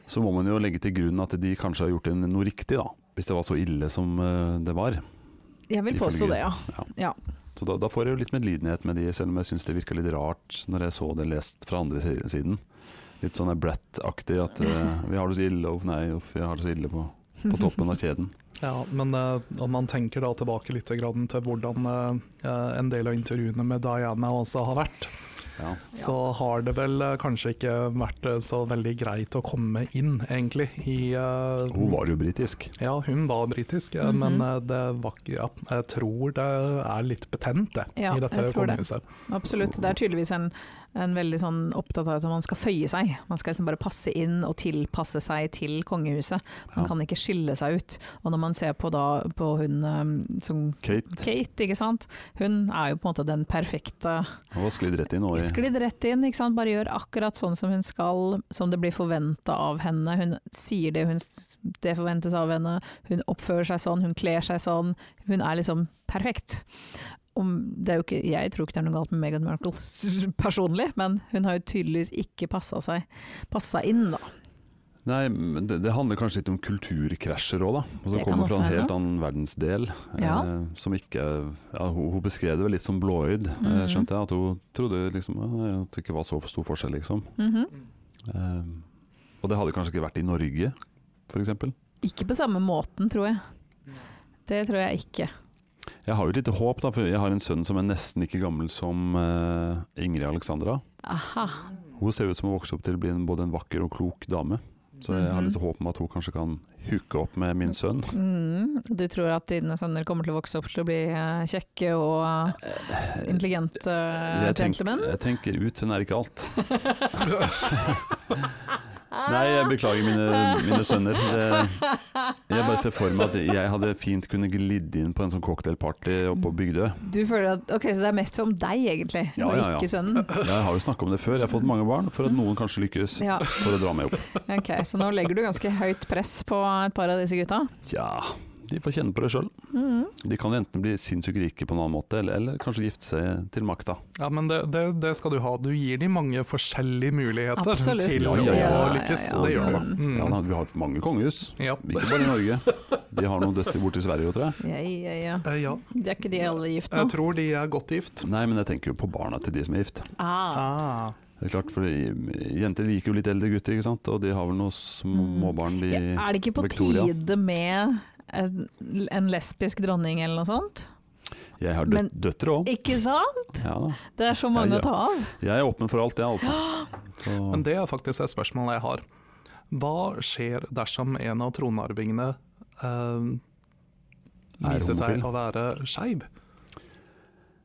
Speaker 2: så må man jo legge til grunn at de kanskje har gjort en, noe riktig, da. Hvis det var så ille som eh, det var.
Speaker 3: Jeg vil
Speaker 2: Ifølge-
Speaker 3: påstå det, ja.
Speaker 2: Så da, da får jeg jo litt medlidenhet med de, selv om jeg syns det virka litt rart når jeg så det lest fra andre si- siden. Litt sånn der Brat-aktig at eh, vi har det så ille, uff nei, uff, vi har det så ille på, på toppen av kjeden.
Speaker 4: Ja, men eh, om man tenker da tilbake litt grann til hvordan eh, eh, en del av intervjuene med Diana også har vært,
Speaker 2: Ja.
Speaker 4: så har det vel eh, kanskje ikke vært eh, så veldig greit å komme inn, egentlig, i eh,
Speaker 2: Hun var jo britisk.
Speaker 4: Ja, hun var britisk, eh,
Speaker 3: Mhm.
Speaker 4: men eh, det var ikke ja, Jeg tror det er litt betent, det,
Speaker 3: Ja,
Speaker 4: i dette
Speaker 3: jeg tror det.
Speaker 4: kongehuset.
Speaker 3: Absolutt. Det er tydeligvis en, en veldig sånn opptatt av at man skal føye seg. Man skal liksom bare passe inn og tilpasse seg til kongehuset.
Speaker 2: Ja.
Speaker 3: Man kan ikke skille seg ut. Og når man ser på, da, på hun eh, som
Speaker 2: Kate
Speaker 3: Kate, ikke sant. Hun er jo på en måte den perfekte.
Speaker 2: hun var sklidd rett inn og i
Speaker 3: Sklidd rett inn, ikke sant. Bare gjør akkurat sånn som hun skal, som det blir forventa av henne. Hun sier det hun det forventes av henne. Hun oppfører seg sånn, hun kler seg sånn. Hun er liksom perfekt. Om- det er jo ikke, jeg tror ikke det er noe galt med Meghan Markle personlig, men hun har jo tydeligvis ikke passa seg passa inn, da.
Speaker 2: Nei, men det, det handler kanskje litt om kulturkrasjer òg, da. Og som
Speaker 3: Det kan
Speaker 2: kommer fra en
Speaker 3: også hende.
Speaker 2: helt annen verdensdel.
Speaker 3: Ja.
Speaker 2: Eh, som ikke ja, hun, hun beskrev det vel litt som blåøyd, eh,
Speaker 3: Mhm.
Speaker 2: skjønte jeg. At hun trodde liksom eh, at det ikke var så stor forskjell, liksom.
Speaker 3: Mhm.
Speaker 2: Eh, og det hadde kanskje ikke vært i Norge, f.eks.
Speaker 3: Ikke på samme måten, tror jeg. Det tror jeg ikke.
Speaker 2: Jeg har jo et lite håp, da, for jeg har en sønn som er nesten like gammel som eh, Ingrid Alexandra.
Speaker 3: Aha.
Speaker 2: Hun ser ut som hun vokser opp til å bli en, både en vakker og klok dame. Så jeg har
Speaker 3: Mhm.
Speaker 2: litt håp om at hun kanskje kan hooke opp med min sønn.
Speaker 3: Mm, du tror at dine sønner kommer til å vokse opp til å bli eh, kjekke og eh, intelligente eh,
Speaker 2: Jeg tenk-
Speaker 3: gentlemen?
Speaker 2: Jeg tenker utseendet er ikke alt.
Speaker 3: Ah.
Speaker 2: Nei, jeg beklager mine, mine sønner. Det, jeg bare ser for meg at jeg hadde fint kunne glidde inn på en sånn cocktailparty oppe på Bygdøy.
Speaker 3: Du føler at Ok, så det er mest om deg, egentlig,
Speaker 2: Ja,
Speaker 3: og
Speaker 2: ja, ja.
Speaker 3: ikke sønnen?
Speaker 2: Jeg har jo snakka om det før, jeg har fått mange barn for at noen kanskje lykkes
Speaker 3: Mhm. Ja,
Speaker 2: for å dra meg opp.
Speaker 3: ok, Så nå legger du ganske høyt press på et par av disse gutta?
Speaker 2: Tja, de får kjenne på det sjøl.
Speaker 3: Mm.
Speaker 2: De kan jo enten bli sinnssykt rike på en annen måte, eller, eller kanskje gifte seg til makta.
Speaker 4: Ja, men det, det, det skal du ha. Du gir dem mange forskjellige muligheter
Speaker 3: Absolutt.
Speaker 4: til
Speaker 2: Ja,
Speaker 4: å
Speaker 2: ja, ja, ja,
Speaker 4: lykkes.
Speaker 3: ja,
Speaker 4: Det
Speaker 2: ja.
Speaker 4: gjør du. Mm.
Speaker 2: Ja, da, vi har mange kongehus,
Speaker 4: Ja.
Speaker 2: ikke bare i Norge. De har noen døtre borte i Sverige òg, tror jeg.
Speaker 3: Ja, ja, ja.
Speaker 4: Eh, ja.
Speaker 3: Det er ikke de alle gift nå?
Speaker 4: Jeg tror de er godt gift.
Speaker 2: Nei, men jeg tenker jo på barna til de som er gift.
Speaker 3: Ah,
Speaker 4: Ah.
Speaker 2: Det er klart, for Jenter liker jo litt eldre gutter, ikke sant? og de har vel noen småbarn de
Speaker 3: Mm. ja, er det ikke på
Speaker 2: Victoria.
Speaker 3: tide med en, en lesbisk dronning eller noe sånt?
Speaker 2: Jeg har
Speaker 3: Men-
Speaker 2: døt døtre òg.
Speaker 3: Ikke sant?
Speaker 2: Ja, da.
Speaker 3: Det er så
Speaker 2: Ja,
Speaker 3: mange
Speaker 2: ja.
Speaker 3: å ta av.
Speaker 2: jeg er åpen for alt, jeg, altså. Så,
Speaker 4: Men det er faktisk et spørsmål jeg har. Hva skjer dersom en av tronarvingene eh,
Speaker 2: Er homofil?
Speaker 4: viser seg å være skeiv?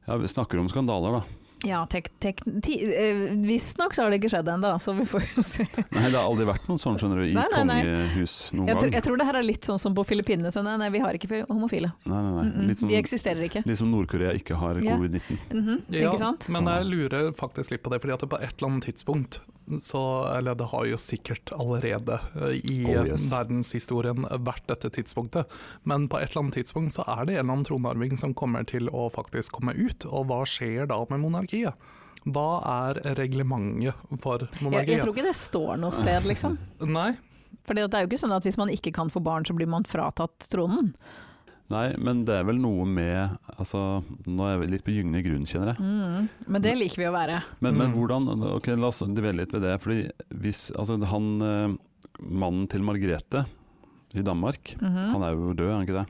Speaker 2: ja, vi snakker om skandaler, da.
Speaker 3: Ja, tek, tek, ti, eh, visstnok så har det ikke skjedd ennå, så vi får jo se.
Speaker 2: Nei, det har aldri vært noen sånn, skjønner du, i
Speaker 3: Nei, nei, nei.
Speaker 2: kongehus noen
Speaker 3: Jeg, tror-
Speaker 2: gang.
Speaker 3: jeg tror det her er litt sånn som på Filippinene. så Nei, nei, vi har ikke homofile.
Speaker 2: Nei, nei,
Speaker 3: Mm,
Speaker 2: nei.
Speaker 3: mm,
Speaker 2: Litt sånn- som,
Speaker 3: De eksisterer ikke.
Speaker 2: litt som Nord-Korea ikke har
Speaker 3: Ja.
Speaker 2: covid-19.
Speaker 3: Mhm,
Speaker 4: Ja,
Speaker 3: ikke sant?
Speaker 4: Men
Speaker 2: Sånn.
Speaker 4: jeg lurer faktisk litt på det, fordi at det på et eller annet tidspunkt så, Eller det har jo sikkert allerede eh, i
Speaker 2: Oh, yes.
Speaker 4: verdenshistorien vært dette tidspunktet, men på et eller annet tidspunkt så er det en eller annen tronarving som kommer til å faktisk komme ut, og hva skjer da med monarkiet? Hva er reglementet for
Speaker 3: Jeg, jeg
Speaker 4: monarkiet?
Speaker 3: tror ikke det står noe sted, liksom.
Speaker 4: Nei,
Speaker 3: For det er jo ikke sånn at hvis man ikke kan få barn, så blir man fratatt tronen.
Speaker 2: Nei, men det er vel noe med altså, Nå er jeg litt på gyngende grunn, kjenner jeg.
Speaker 3: Mhm, Men det liker vi å være.
Speaker 2: Men, men
Speaker 4: Mm.
Speaker 2: hvordan Ok, la oss dvele litt ved det. Fordi hvis altså, han eh, Mannen til Margrethe i Danmark,
Speaker 3: Mhm.
Speaker 2: han er jo død, er han ikke det?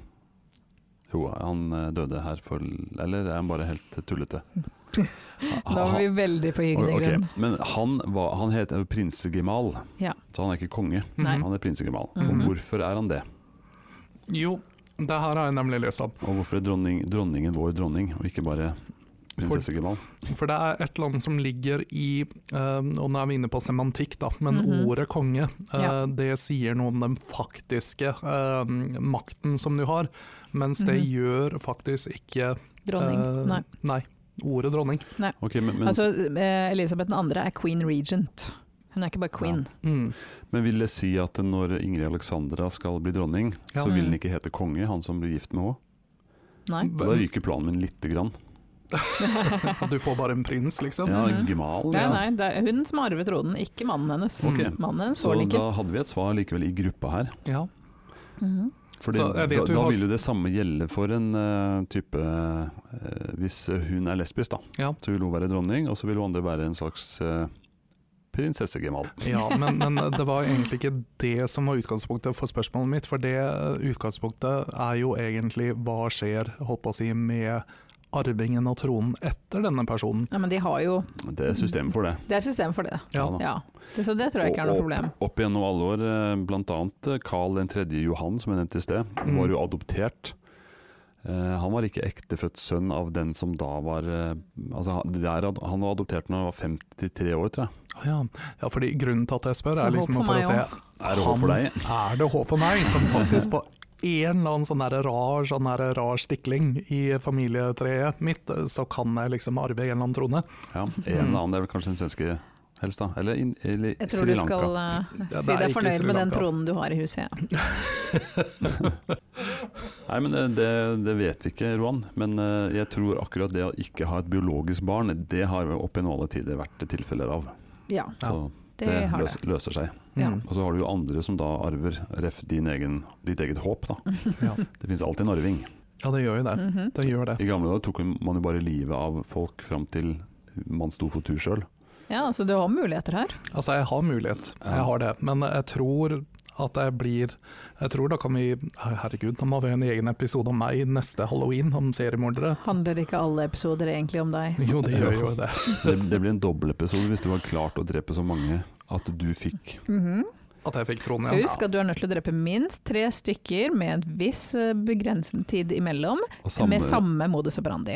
Speaker 2: Jo, han eh, døde her for Eller er han bare helt tullete?
Speaker 3: Da var vi veldig på
Speaker 2: Han-
Speaker 3: gyngende
Speaker 2: ok,
Speaker 3: grunn.
Speaker 2: Men han, var, han het prinsegemal,
Speaker 3: Ja.
Speaker 2: så han er ikke konge.
Speaker 3: Nei.
Speaker 2: Han er prinsegemal.
Speaker 3: Mhm.
Speaker 2: Og hvorfor er han det?
Speaker 4: jo, det her har jeg nemlig løst opp.
Speaker 2: Og hvorfor er dronning, dronningen vår dronning, og ikke bare prinsessegemal?
Speaker 4: For det er et eller annet som ligger i eh, Og nå er vi inne på semantikk, da, men
Speaker 3: Mhm.
Speaker 4: ordet konge, eh,
Speaker 3: Ja.
Speaker 4: det sier noe om den faktiske eh, makten som du har. Mens det
Speaker 3: Mhm.
Speaker 4: gjør faktisk ikke
Speaker 3: Dronning.
Speaker 4: eh,
Speaker 3: Nei.
Speaker 4: nei. Ordet dronning.
Speaker 2: Ok, men, men,
Speaker 3: Altså, eh, Elisabeth 2. er queen regent. Hun er ikke bare queen.
Speaker 4: Mm.
Speaker 2: Men vil det si at når Ingrid Alexandra skal bli dronning,
Speaker 4: Ja.
Speaker 2: så vil
Speaker 3: Mm.
Speaker 2: den ikke hete konge, han som blir gift med henne?
Speaker 3: Nei.
Speaker 2: Da ryker planen min lite grann.
Speaker 4: Du får bare en prins, liksom.
Speaker 2: Ja,
Speaker 3: Mhm.
Speaker 2: gemal.
Speaker 3: Nei,
Speaker 2: liksom.
Speaker 3: nei, det er hun som arver tronen, ikke mannen hennes.
Speaker 4: Mm.
Speaker 2: Ok.
Speaker 3: Mannen hennes
Speaker 2: Så
Speaker 3: får den ikke.
Speaker 2: da hadde vi et svar likevel i gruppa her.
Speaker 4: Ja.
Speaker 3: Mhm.
Speaker 2: For
Speaker 4: Så
Speaker 2: da,
Speaker 4: jeg vet jo
Speaker 2: da
Speaker 4: hva-
Speaker 2: vil jo det samme gjelde for en eh, type eh, Hvis hun er lesbisk, da,
Speaker 4: Ja.
Speaker 2: så vil hun være dronning, og så vil hun andre være en slags eh, prinsessegemal.
Speaker 4: Ja, men, men det var egentlig ikke det som var utgangspunktet for eh, spørsmålet mitt. For det utgangspunktet er jo egentlig hva skjer holdt på å si, med arvingen av tronen etter denne personen.
Speaker 3: Ja, men de har jo
Speaker 2: Det er system for det.
Speaker 3: Det er system for det.
Speaker 4: Ja.
Speaker 2: da.
Speaker 3: Ja. Det, så det tror jeg ikke er noe
Speaker 2: Og
Speaker 3: problem.
Speaker 2: Opp gjennom alle år, eh, blant annet Karl 3. Johan, som jeg nevnte i sted,
Speaker 4: Mm.
Speaker 2: var jo adoptert. Eh, han var ikke ektefødt sønn av den som da var eh, altså, han- det der, ad- Han var adoptert når han var 53 år, tror jeg.
Speaker 4: Å Ja. ja, fordi grunnen til at jeg spør,
Speaker 3: Så
Speaker 4: er
Speaker 3: håp
Speaker 4: liksom
Speaker 3: for
Speaker 4: for
Speaker 3: meg
Speaker 4: å se
Speaker 2: Er det håp for
Speaker 4: Han-
Speaker 2: deg?
Speaker 4: Er det håp for meg, som faktisk på en eller annen sånn der rar, sånn der rar stikling i familietreet mitt, så kan jeg liksom arve en eller annen trone.
Speaker 2: Ja, en eller annen, det er vel kanskje den svenske helst, da. Eller, in, eller
Speaker 3: Jeg tror
Speaker 2: Sri
Speaker 3: du
Speaker 2: Lanka.
Speaker 3: skal eh,
Speaker 4: det
Speaker 3: si
Speaker 4: er
Speaker 3: deg
Speaker 4: ikke
Speaker 3: fornøyd
Speaker 4: Sri
Speaker 3: med den
Speaker 4: Lanka.
Speaker 3: tronen du har i huset. Ja.
Speaker 2: Nei, men eh, det, det vet vi ikke, Roan. Men eh, jeg tror akkurat det å ikke ha et biologisk barn, det har jo opp gjennom alle tider vært tilfeller av.
Speaker 3: Ja,
Speaker 4: Ja,
Speaker 2: Så
Speaker 3: det,
Speaker 2: det,
Speaker 3: har det.
Speaker 2: løs, løser seg.
Speaker 3: Ja.
Speaker 4: Mm.
Speaker 2: Og så har du jo andre som da arver ref din egen, ditt eget håp, da.
Speaker 4: Ja.
Speaker 2: Det finnes alltid en arving.
Speaker 4: ja, det gjør jo det.
Speaker 3: Mhm.
Speaker 4: Det gjør det.
Speaker 2: I gamle dager tok man jo bare livet av folk fram til man sto for tur sjøl.
Speaker 3: Ja, så du har muligheter her.
Speaker 4: Altså, jeg har mulighet,
Speaker 2: Ja.
Speaker 4: jeg har det. Men jeg tror at jeg blir Jeg tror da kan vi Herregud, da må vi ha en egen episode om meg neste halloween, om seriemordere.
Speaker 3: Handler ikke alle episoder egentlig om deg?
Speaker 4: Jo, det gjør jo det.
Speaker 2: Det, det blir en dobbeltepisode hvis du har klart å drepe så mange at du fikk
Speaker 3: Mhm.
Speaker 4: At jeg fikk tronen igjen.
Speaker 3: Husk at du er nødt til å drepe minst tre stykker med en viss eh, begrenset tid imellom,
Speaker 2: og samme,
Speaker 3: med samme modus operandi.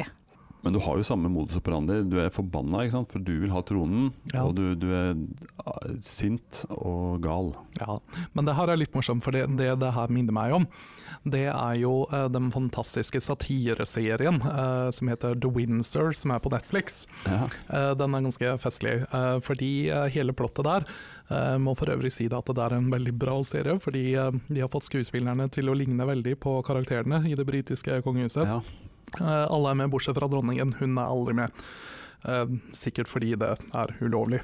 Speaker 2: Men du har jo samme modus operandi. Du er forbanna, ikke sant? for du vil ha tronen.
Speaker 4: Ja.
Speaker 2: Og du, du er ah, sint og gal.
Speaker 4: Ja, men det her er litt morsomt, for det det, det her minner meg om, det er jo eh, den fantastiske satireserien eh, som heter The Windsor, som er på Netflix.
Speaker 2: Ja.
Speaker 4: Eh, den er ganske festlig, eh, fordi eh, hele plottet der eh, må for øvrig si det at det er en veldig bra serie, fordi eh, de har fått skuespillerne til å ligne veldig på karakterene i det britiske kongehuset.
Speaker 2: Ja.
Speaker 4: Eh, alle er med, bortsett fra dronningen. Hun er aldri med. Eh, sikkert fordi det er ulovlig,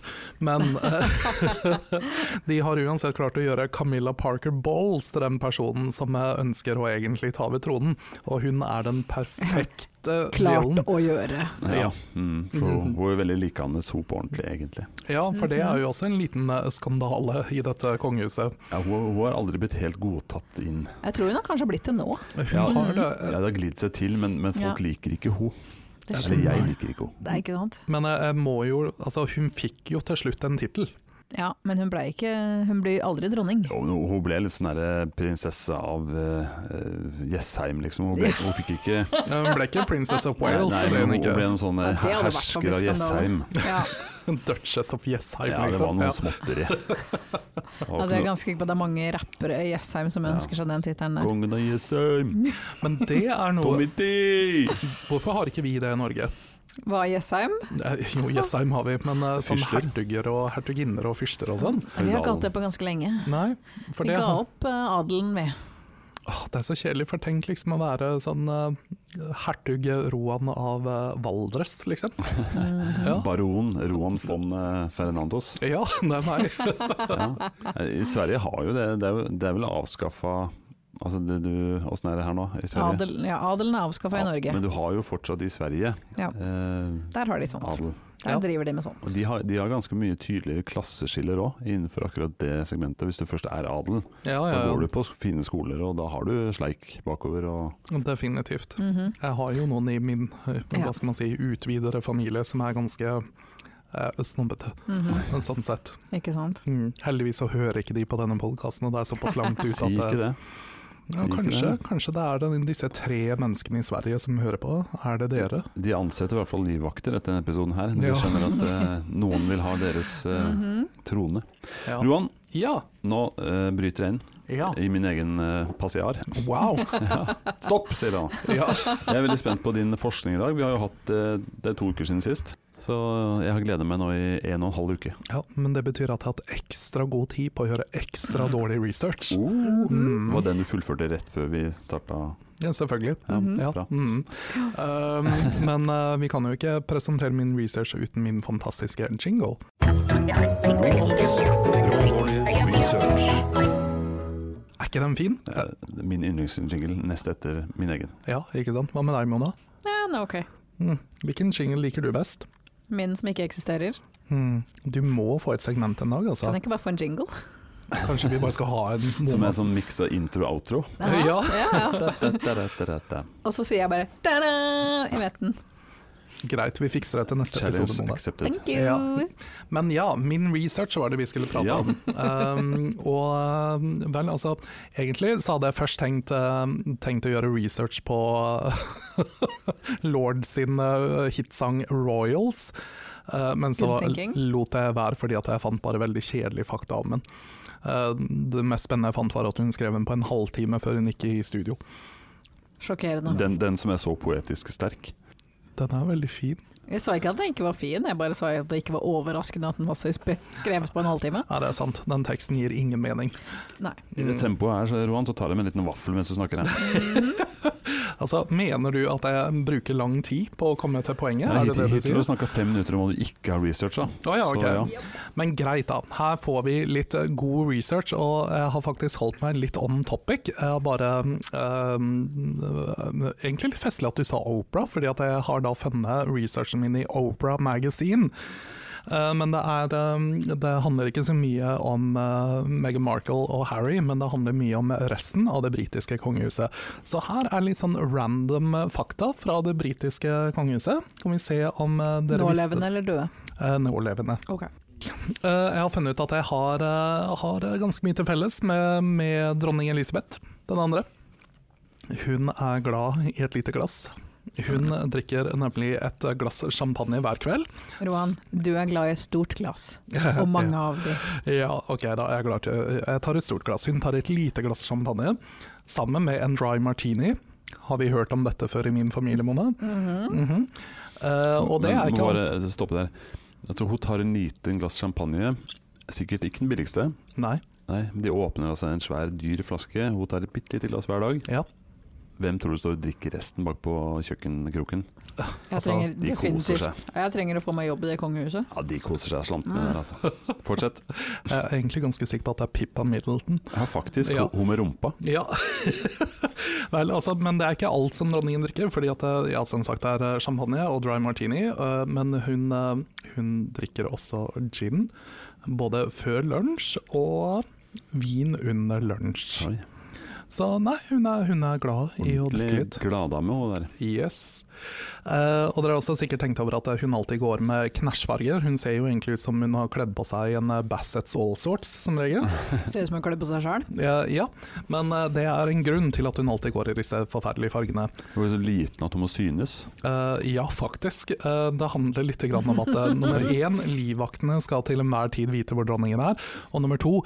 Speaker 4: men eh, de har uansett klart å gjøre Camilla Parker Bowles til den personen som eh, ønsker å egentlig ta over tronen, og hun er den perfekte
Speaker 3: Klart
Speaker 4: villen.
Speaker 3: å gjøre.
Speaker 4: Ja.
Speaker 2: Mm, for
Speaker 4: Mhm.
Speaker 2: Hun er veldig likandes hop ordentlig, egentlig.
Speaker 4: Ja, for det
Speaker 2: Mhm.
Speaker 4: er jo også en liten eh, skandale i dette kongehuset.
Speaker 2: Ja, hun, hun har aldri blitt helt godtatt inn.
Speaker 3: Jeg tror hun har kanskje blitt det nå.
Speaker 4: Hun
Speaker 2: Ja.
Speaker 4: har det. eh,
Speaker 2: Ja, det har glidd seg til, men, men folk liker ikke hun.
Speaker 3: Det
Speaker 2: Eller
Speaker 3: skjønner
Speaker 2: jeg
Speaker 3: jeg.
Speaker 2: liker ikke hun.
Speaker 3: Det er ikke sant.
Speaker 4: Men eh, jeg jeg må jo, altså hun fikk jo til slutt en tittel.
Speaker 3: Ja, men hun ble ikke Hun blir aldri dronning.
Speaker 2: Jo, men Hun ble litt sånn der prinsesse av eh, eh, Jessheim, liksom. Hun, ble, hun fikk ikke
Speaker 4: Hun ble ikke Princess of Wales,
Speaker 2: Nei,
Speaker 4: det ble
Speaker 2: men
Speaker 4: hun
Speaker 2: hun ble
Speaker 4: ikke.
Speaker 2: en sånn
Speaker 3: Ja,
Speaker 2: eh,
Speaker 3: det hadde vært
Speaker 2: hersker av
Speaker 3: forbudt
Speaker 2: Jessheim.
Speaker 3: skandale. Ja,
Speaker 4: Duchess of Jessheim,
Speaker 2: Ja, det var
Speaker 4: liksom.
Speaker 2: noe
Speaker 4: Ja.
Speaker 2: småtteri.
Speaker 3: altså jeg er ganske sikker på at det er mange rappere i Jessheim som
Speaker 2: Ja.
Speaker 3: ønsker seg den tittelen der.
Speaker 2: Kongen av Jessheim,
Speaker 4: Men det er noe
Speaker 2: Tommy D!
Speaker 4: Hvorfor har ikke vi det i Norge?
Speaker 3: Hva er Jessheim?
Speaker 4: Eh, Jo, Jessheim har vi, men eh, sånn
Speaker 2: Fyrster.
Speaker 4: hertuger og hertuginner og fyrster og sånn?
Speaker 3: Vi har ikke hatt det på ganske lenge.
Speaker 4: Nei, for
Speaker 3: Vi
Speaker 4: det,
Speaker 3: ga opp eh, adelen, vi.
Speaker 4: Åh, det er så kjedelig, for tenk liksom å være sånn eh, hertug Roan av eh, Valdres, liksom.
Speaker 3: Mm.
Speaker 4: Ja.
Speaker 2: Baron Roan von eh, Fernandos.
Speaker 4: ja, det er meg.
Speaker 2: Ja. Eh, I Sverige har jo det. Det er, jo- det er vel avskaffa Altså det du Åssen er det her nå i Sverige?
Speaker 3: Adel, ja, adelen er avskaffa i Norge.
Speaker 2: Men du har jo fortsatt i Sverige
Speaker 3: Ja.
Speaker 2: eh,
Speaker 3: Der har de sånt.
Speaker 2: adel.
Speaker 3: Der
Speaker 4: Ja.
Speaker 3: driver de med sånt.
Speaker 2: Og de har, de har ganske mye tydeligere klasseskiller òg, innenfor akkurat det segmentet. Hvis du først er adel,
Speaker 4: Ja,
Speaker 2: da
Speaker 4: ja,
Speaker 2: går du
Speaker 4: ja,
Speaker 2: på fine skoler, og da har du sleik bakover. Og
Speaker 4: definitivt.
Speaker 3: Mhm.
Speaker 4: Jeg har jo noen i min eh,
Speaker 3: Ja.
Speaker 4: hva skal man si, utvidere familie som er ganske eh, snobbete,
Speaker 3: Mhm.
Speaker 4: sånn sett.
Speaker 3: Ikke sant.
Speaker 4: Mm. Heldigvis så hører ikke de på denne podkasten, og det er såpass langt ut
Speaker 2: si
Speaker 4: at eh,
Speaker 2: ikke det.
Speaker 4: Ja,
Speaker 2: Sier ikke
Speaker 4: kanskje,
Speaker 2: det.
Speaker 4: kanskje det er den, disse tre menneskene i Sverige som hører på. Er det dere?
Speaker 2: De ansetter i hvert fall livvakter etter denne episoden her. De
Speaker 4: Ja.
Speaker 2: skjønner at eh, noen vil ha deres eh,
Speaker 3: Mhm.
Speaker 2: trone.
Speaker 4: Ja.
Speaker 2: Roan,
Speaker 4: Ja.
Speaker 2: nå eh, bryter jeg inn
Speaker 4: ja.
Speaker 2: i min egen eh, passiar.
Speaker 4: Wow.
Speaker 2: Stopp, sier han.
Speaker 4: Ja.
Speaker 2: Jeg er veldig spent på din forskning i dag. Vi har jo hatt eh, Det er to uker siden sist. Så eh, jeg har gleda meg nå i en og en halv uke.
Speaker 4: ja, men det betyr at jeg har hatt ekstra god tid på å gjøre ekstra dårlig research.
Speaker 2: Det
Speaker 4: Mm.
Speaker 2: Oh. var den du fullførte rett før vi starta.
Speaker 4: Ja, selvfølgelig.
Speaker 2: Ja,
Speaker 3: Mhm.
Speaker 4: Ja.
Speaker 2: bra.
Speaker 4: Mm. Um, men eh, vi kan jo ikke presentere min research uten min fantastiske jingle.
Speaker 1: Dårlig research.
Speaker 4: Er ikke den fin?
Speaker 2: Eh, Min yndlingsjingle nest etter min egen.
Speaker 4: Ja, ikke sant? Hva med deg, Mona?
Speaker 3: Ja, nå, ok.
Speaker 4: Mm. Hvilken jingle liker du best?
Speaker 3: Min som ikke eksisterer.
Speaker 4: Mm. Du må få et segment en dag, altså.
Speaker 3: Kan jeg ikke bare få en jingle?
Speaker 4: Kanskje vi bare skal ha en
Speaker 2: Som er
Speaker 4: måned-
Speaker 2: sånn miksa intro-outro.
Speaker 3: Aha,
Speaker 4: Ja.
Speaker 3: ja.
Speaker 2: Challenge
Speaker 3: Og så sier jeg bare ta-da! Jeg vet den.
Speaker 4: Greit, vi fikser det til neste episode. Mona.
Speaker 2: accepted.
Speaker 3: Thank you.
Speaker 4: Ja. Men ja, min research var det vi skulle prate
Speaker 2: Ja.
Speaker 4: om. Um, og um, vel, altså Egentlig så hadde jeg først tenkt, um, tenkt å gjøre research på Lord sin uh, hitsang 'Royals'. Uh, men så
Speaker 3: Good thinking.
Speaker 4: lot jeg være fordi at jeg fant bare veldig kjedelige fakta om henne. Uh, det mest spennende jeg fant, var at hun skrev den på en halvtime før hun gikk i studio.
Speaker 3: Sjokkerende.
Speaker 2: Den, den som er så poetisk sterk.
Speaker 4: Den er veldig fin.
Speaker 3: Jeg sa ikke at den ikke var fin, jeg bare sa at det ikke var overraskende at den var så spe- skrevet på en halvtime.
Speaker 4: Ja, det er sant. Den teksten gir ingen mening.
Speaker 3: Nei.
Speaker 2: I det
Speaker 4: Mm.
Speaker 2: tempoet her, så, Roan, så tar jeg med en liten vaffel mens du snakker. her.
Speaker 4: Altså, Mener du at jeg bruker lang tid på å komme til poenget?
Speaker 2: Nei,
Speaker 4: er det det du
Speaker 2: hittil har
Speaker 4: sier?
Speaker 2: du snakka fem minutter om hva du ikke har researcha.
Speaker 4: Å ja, ok.
Speaker 2: Så,
Speaker 4: Men greit, da. Her får vi litt eh, god research, og jeg har faktisk holdt meg litt on topic. Jeg har bare eh, Egentlig litt festlig at du sa Opera, fordi at jeg har da funnet researchen min i Opera Magazine. Eh, Men det, er, eh, det handler ikke så mye om eh, Meghan Markle og Harry, men det handler mye om resten av det britiske kongehuset. Så her er litt sånn random eh, fakta fra det britiske kongehuset. Kan vi se om eh, dere
Speaker 3: Nålevende eller døde?
Speaker 4: visste Eh, Nålevende. Eh, Jeg har funnet ut at jeg har, eh, har ganske mye til felles med, med dronning Elisabeth, den andre. Hun er glad i et lite glass. Hun drikker nemlig et glass champagne hver kveld.
Speaker 3: Roan, du er glad i et stort glass, og mange av de.
Speaker 4: Ja, ok, da er jeg klar til Jeg tar et stort glass. Hun tar et lite glass champagne sammen med en dry martini. Har vi hørt om dette før i min familie, Mona? Mhm. Eh, og det
Speaker 2: Men
Speaker 4: er
Speaker 2: må
Speaker 4: ikke alt.
Speaker 2: bare stoppe der. Jeg tror hun tar en liten glass champagne. Sikkert ikke den billigste.
Speaker 4: Nei.
Speaker 2: Nei, men De åpner altså en svær, dyr flaske. Hun tar et bitte lite glass hver dag.
Speaker 4: Ja.
Speaker 2: Hvem tror du står og drikker resten bak på kjøkkenkroken?
Speaker 3: Jeg
Speaker 4: Altså,
Speaker 3: trenger
Speaker 2: De koser
Speaker 3: definitivt
Speaker 2: seg.
Speaker 3: Jeg trenger å få meg jobb i det kongehuset.
Speaker 2: Ja, de koser seg
Speaker 4: Mm.
Speaker 2: slantene der, altså. Fortsett.
Speaker 4: Jeg er egentlig ganske sikker på at det er Pippa Middleton.
Speaker 2: Ja, faktisk.
Speaker 4: Ja.
Speaker 2: Hun med rumpa.
Speaker 4: Ja. Vel, altså, men det er ikke alt som dronningen drikker. fordi at, eh, ja, som sagt, det er eh, champagne og dry martini. eh, Men hun, eh, hun drikker også gin, både før lunsj og vin under lunsj.
Speaker 2: Oi,
Speaker 4: Så nei, hun er, hun er glad i å drikke
Speaker 2: ordentlig
Speaker 4: litt.
Speaker 2: gladdame hun der.
Speaker 4: Yes. Eh, og dere har også sikkert tenkt over at eh, hun alltid går med knæsjfarger. Hun ser jo egentlig ut som hun har kledd på seg en eh, Bassett's All Sorts, som regel.
Speaker 3: Ser ut som en kløe på seg sjøl.
Speaker 4: Ja, ja, men eh, det er en grunn til at hun alltid går i disse forferdelige fargene.
Speaker 2: Hun er så liten at hun må synes.
Speaker 4: Eh, ja, faktisk. Eh, det handler litt grann om at eh, nummer én, livvaktene skal til enhver tid vite hvor dronningen er. Og nummer to,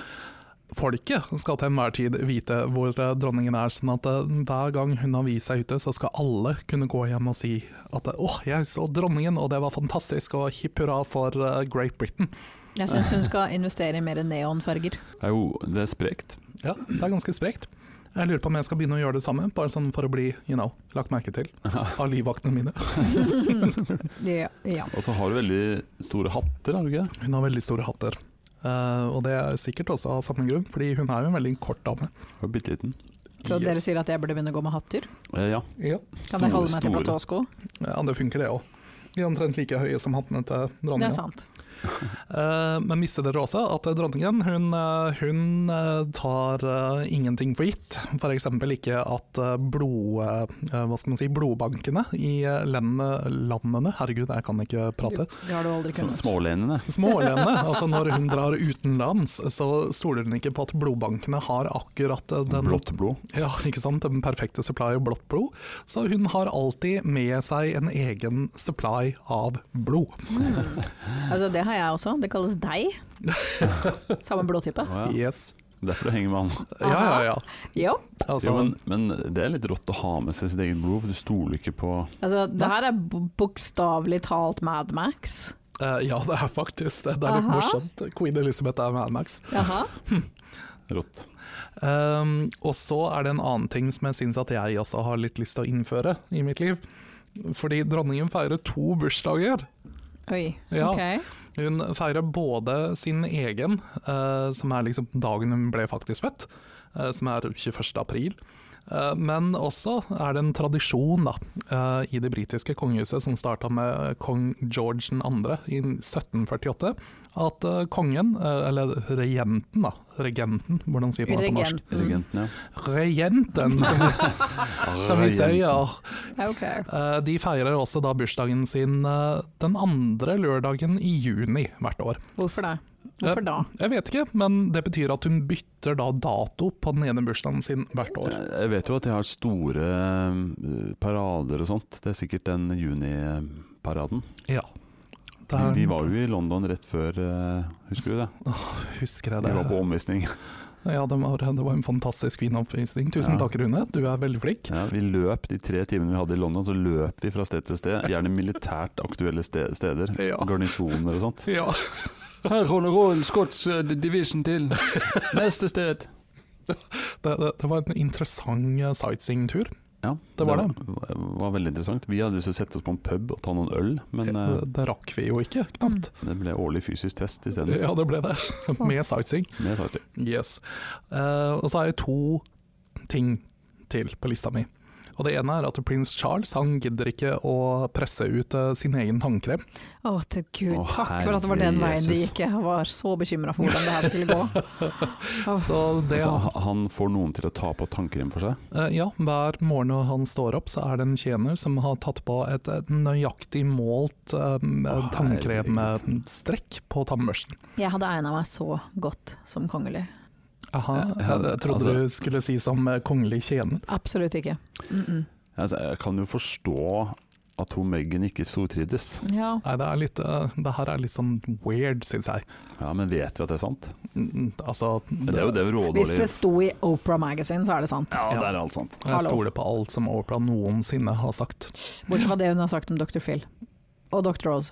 Speaker 4: folket skal til enhver tid vite hvor eh, dronningen er. Sånn at eh, hver gang hun har vist seg ute, så skal alle kunne gå hjem og si at eh, åh, jeg så dronningen, og det var fantastisk, og hipp hurra for eh, Great Britain.
Speaker 3: Jeg syns hun skal investere i mer neonfarger.
Speaker 2: Er jo, det er sprekt.
Speaker 4: Ja, det er ganske sprekt. Jeg lurer på om jeg skal begynne å gjøre det samme, bare sånn for å bli you know, lagt merke til av livvaktene mine.
Speaker 3: Ja, ja.
Speaker 2: Og så har hun veldig store hatter, har hun ikke? det?
Speaker 4: Hun har veldig store hatter. Eh, og det er sikkert også av samme grunn, fordi hun er jo en veldig kort dame.
Speaker 2: Hun er bitte liten.
Speaker 3: Så
Speaker 4: Yes.
Speaker 3: dere sier at jeg burde begynne å gå med hatter?
Speaker 2: Eh, ja.
Speaker 4: Ja.
Speaker 3: Kan jeg holde meg
Speaker 2: Store,
Speaker 3: til
Speaker 2: store.
Speaker 3: platåsko?
Speaker 4: ja, det funker det òg. De er omtrent like høye som hattene til
Speaker 3: Det er
Speaker 4: dronninga.
Speaker 3: sant.
Speaker 4: Eh, men visste dere også at dronningen hun, eh, hun eh, tar eh, ingenting for gitt? F.eks. ikke at eh, blod, eh, hva skal man si, blodbankene i eh, landene, landene Herregud, jeg kan ikke prate.
Speaker 3: Det har du aldri
Speaker 2: Sm-
Speaker 3: kunnet.
Speaker 2: Smålenene.
Speaker 4: Smålenene. Altså når hun drar utenlands, så stoler hun ikke på at blodbankene har akkurat eh, den
Speaker 2: Blått blod.
Speaker 4: Ja, ikke sant? Den perfekte supply av blått blod. Så hun har alltid med seg en egen supply av blod.
Speaker 3: Altså, det har jeg også. Det kalles deig. Samme blodtype.
Speaker 2: Å,
Speaker 4: Ah.
Speaker 2: ja.
Speaker 4: Yes.
Speaker 2: Derfor du henger med han.
Speaker 4: Ja, ja, ja.
Speaker 3: Jo.
Speaker 4: Altså,
Speaker 2: Jo, men, men det er litt rått å ha med seg sitt eget blod, for du stoler ikke på
Speaker 3: Altså, det her er bo- bokstavelig talt Mad Max.
Speaker 4: eh, ja, det er faktisk det. Det er litt
Speaker 3: Aha.
Speaker 4: morsomt. Queen Elizabeth er Mad Max.
Speaker 3: Jaha.
Speaker 2: rått.
Speaker 4: Um, og så er det en annen ting som jeg syns at jeg også har litt lyst til å innføre i mitt liv. Fordi dronningen feirer to bursdager.
Speaker 3: Oi.
Speaker 4: Ja.
Speaker 3: Ok.
Speaker 4: Hun feirer både sin egen, eh, som er liksom dagen hun ble faktisk født, eh, som er 21. april. Eh, Men også er det en tradisjon da, eh, i det britiske kongehuset, som starta med eh, kong George 2. i 1748, at eh, kongen, eh, eller regenten, da, regenten, hvordan sier man det på norsk?
Speaker 3: Regenten.
Speaker 2: Regenten, ja.
Speaker 4: Regenten, som,
Speaker 2: Mm.
Speaker 4: vi- som vi sier.
Speaker 3: Ja, ok.
Speaker 4: Eh, De feirer også da bursdagen sin eh, den andre lørdagen i juni hvert år.
Speaker 3: Hvorfor det? Hvorfor da?
Speaker 4: Jeg vet ikke, men det betyr at hun bytter da dato på den ene bursdagen sin hvert år.
Speaker 2: Jeg vet jo at de har store eh, parader og sånt. Det er sikkert den juniparaden.
Speaker 4: Ja.
Speaker 2: De, de var jo i London rett før, eh, husker du det?
Speaker 4: Husker jeg
Speaker 2: De
Speaker 4: det.
Speaker 2: var på omvisning.
Speaker 4: Ja, det var, det var en fantastisk vinoppvisning. Tusen
Speaker 2: Ja.
Speaker 4: takk, Rune. Du er veldig flink.
Speaker 2: Ja, vi løp de tre timene vi hadde i London, så løp vi fra sted til sted. Gjerne militært aktuelle ste- steder.
Speaker 4: Ja.
Speaker 2: Garnisoner og sånt.
Speaker 4: Ja.
Speaker 2: Her holder Royal Scots
Speaker 4: eh,
Speaker 2: Division til. Neste sted.
Speaker 4: Det, det, det var en interessant eh, sightseeingtur.
Speaker 2: Ja,
Speaker 4: Det var det.
Speaker 2: Var, var veldig interessant. Vi hadde lyst til å sette oss på en pub og ta noen øl, men
Speaker 4: Det,
Speaker 2: eh, Mm.
Speaker 4: det rakk vi jo ikke, knapt.
Speaker 2: det ble årlig fysisk test isteden.
Speaker 4: Ja, det ble det. Med sightseeing.
Speaker 2: Med sightseeing.
Speaker 4: Yes. Eh, og så er det to ting til på lista mi. Og Det ene er at prins Charles han gidder ikke å presse ut eh, sin egen tannkrem.
Speaker 3: Å, til gud.
Speaker 2: Å,
Speaker 3: Takk for at det var den
Speaker 2: herre
Speaker 3: veien det
Speaker 2: Jesus.
Speaker 3: gikk. Jeg var så bekymra for hvordan det her skulle gå. Åh.
Speaker 4: Så det,
Speaker 2: Altså, ha- han får noen til å ta på tannkrem for seg.
Speaker 4: Eh, ja, Hver morgen når han står opp, så er det en tjener som har tatt på et, et nøyaktig målt eh, tannkremstrekk på tannbørsten.
Speaker 3: Jeg hadde egna meg så godt som kongelig.
Speaker 4: Aha,
Speaker 2: Ja, ja,
Speaker 4: jeg, jeg trodde
Speaker 2: altså-
Speaker 4: du skulle si som eh, kongelig tjener.
Speaker 3: Absolutt ikke. Mm -mm.
Speaker 2: Altså, jeg kan jo forstå at hun Meghan ikke stortrivdes.
Speaker 3: Ja.
Speaker 4: Nei, det, er litt, eh, det her er litt sånn weird, syns jeg.
Speaker 2: Ja, men vet vi at det er sant?
Speaker 4: Mm, Altså,
Speaker 2: Det er jo det
Speaker 3: Hvis det
Speaker 2: rådårlige
Speaker 3: sto i Opera Magazine, så er det sant.
Speaker 2: Ja, det er alt sant.
Speaker 4: Jeg
Speaker 3: Hallo.
Speaker 4: stoler på alt som Oprah noensinne har sagt.
Speaker 3: Bortsett fra det hun har sagt om Dr. Phil. Og Dr. Rose.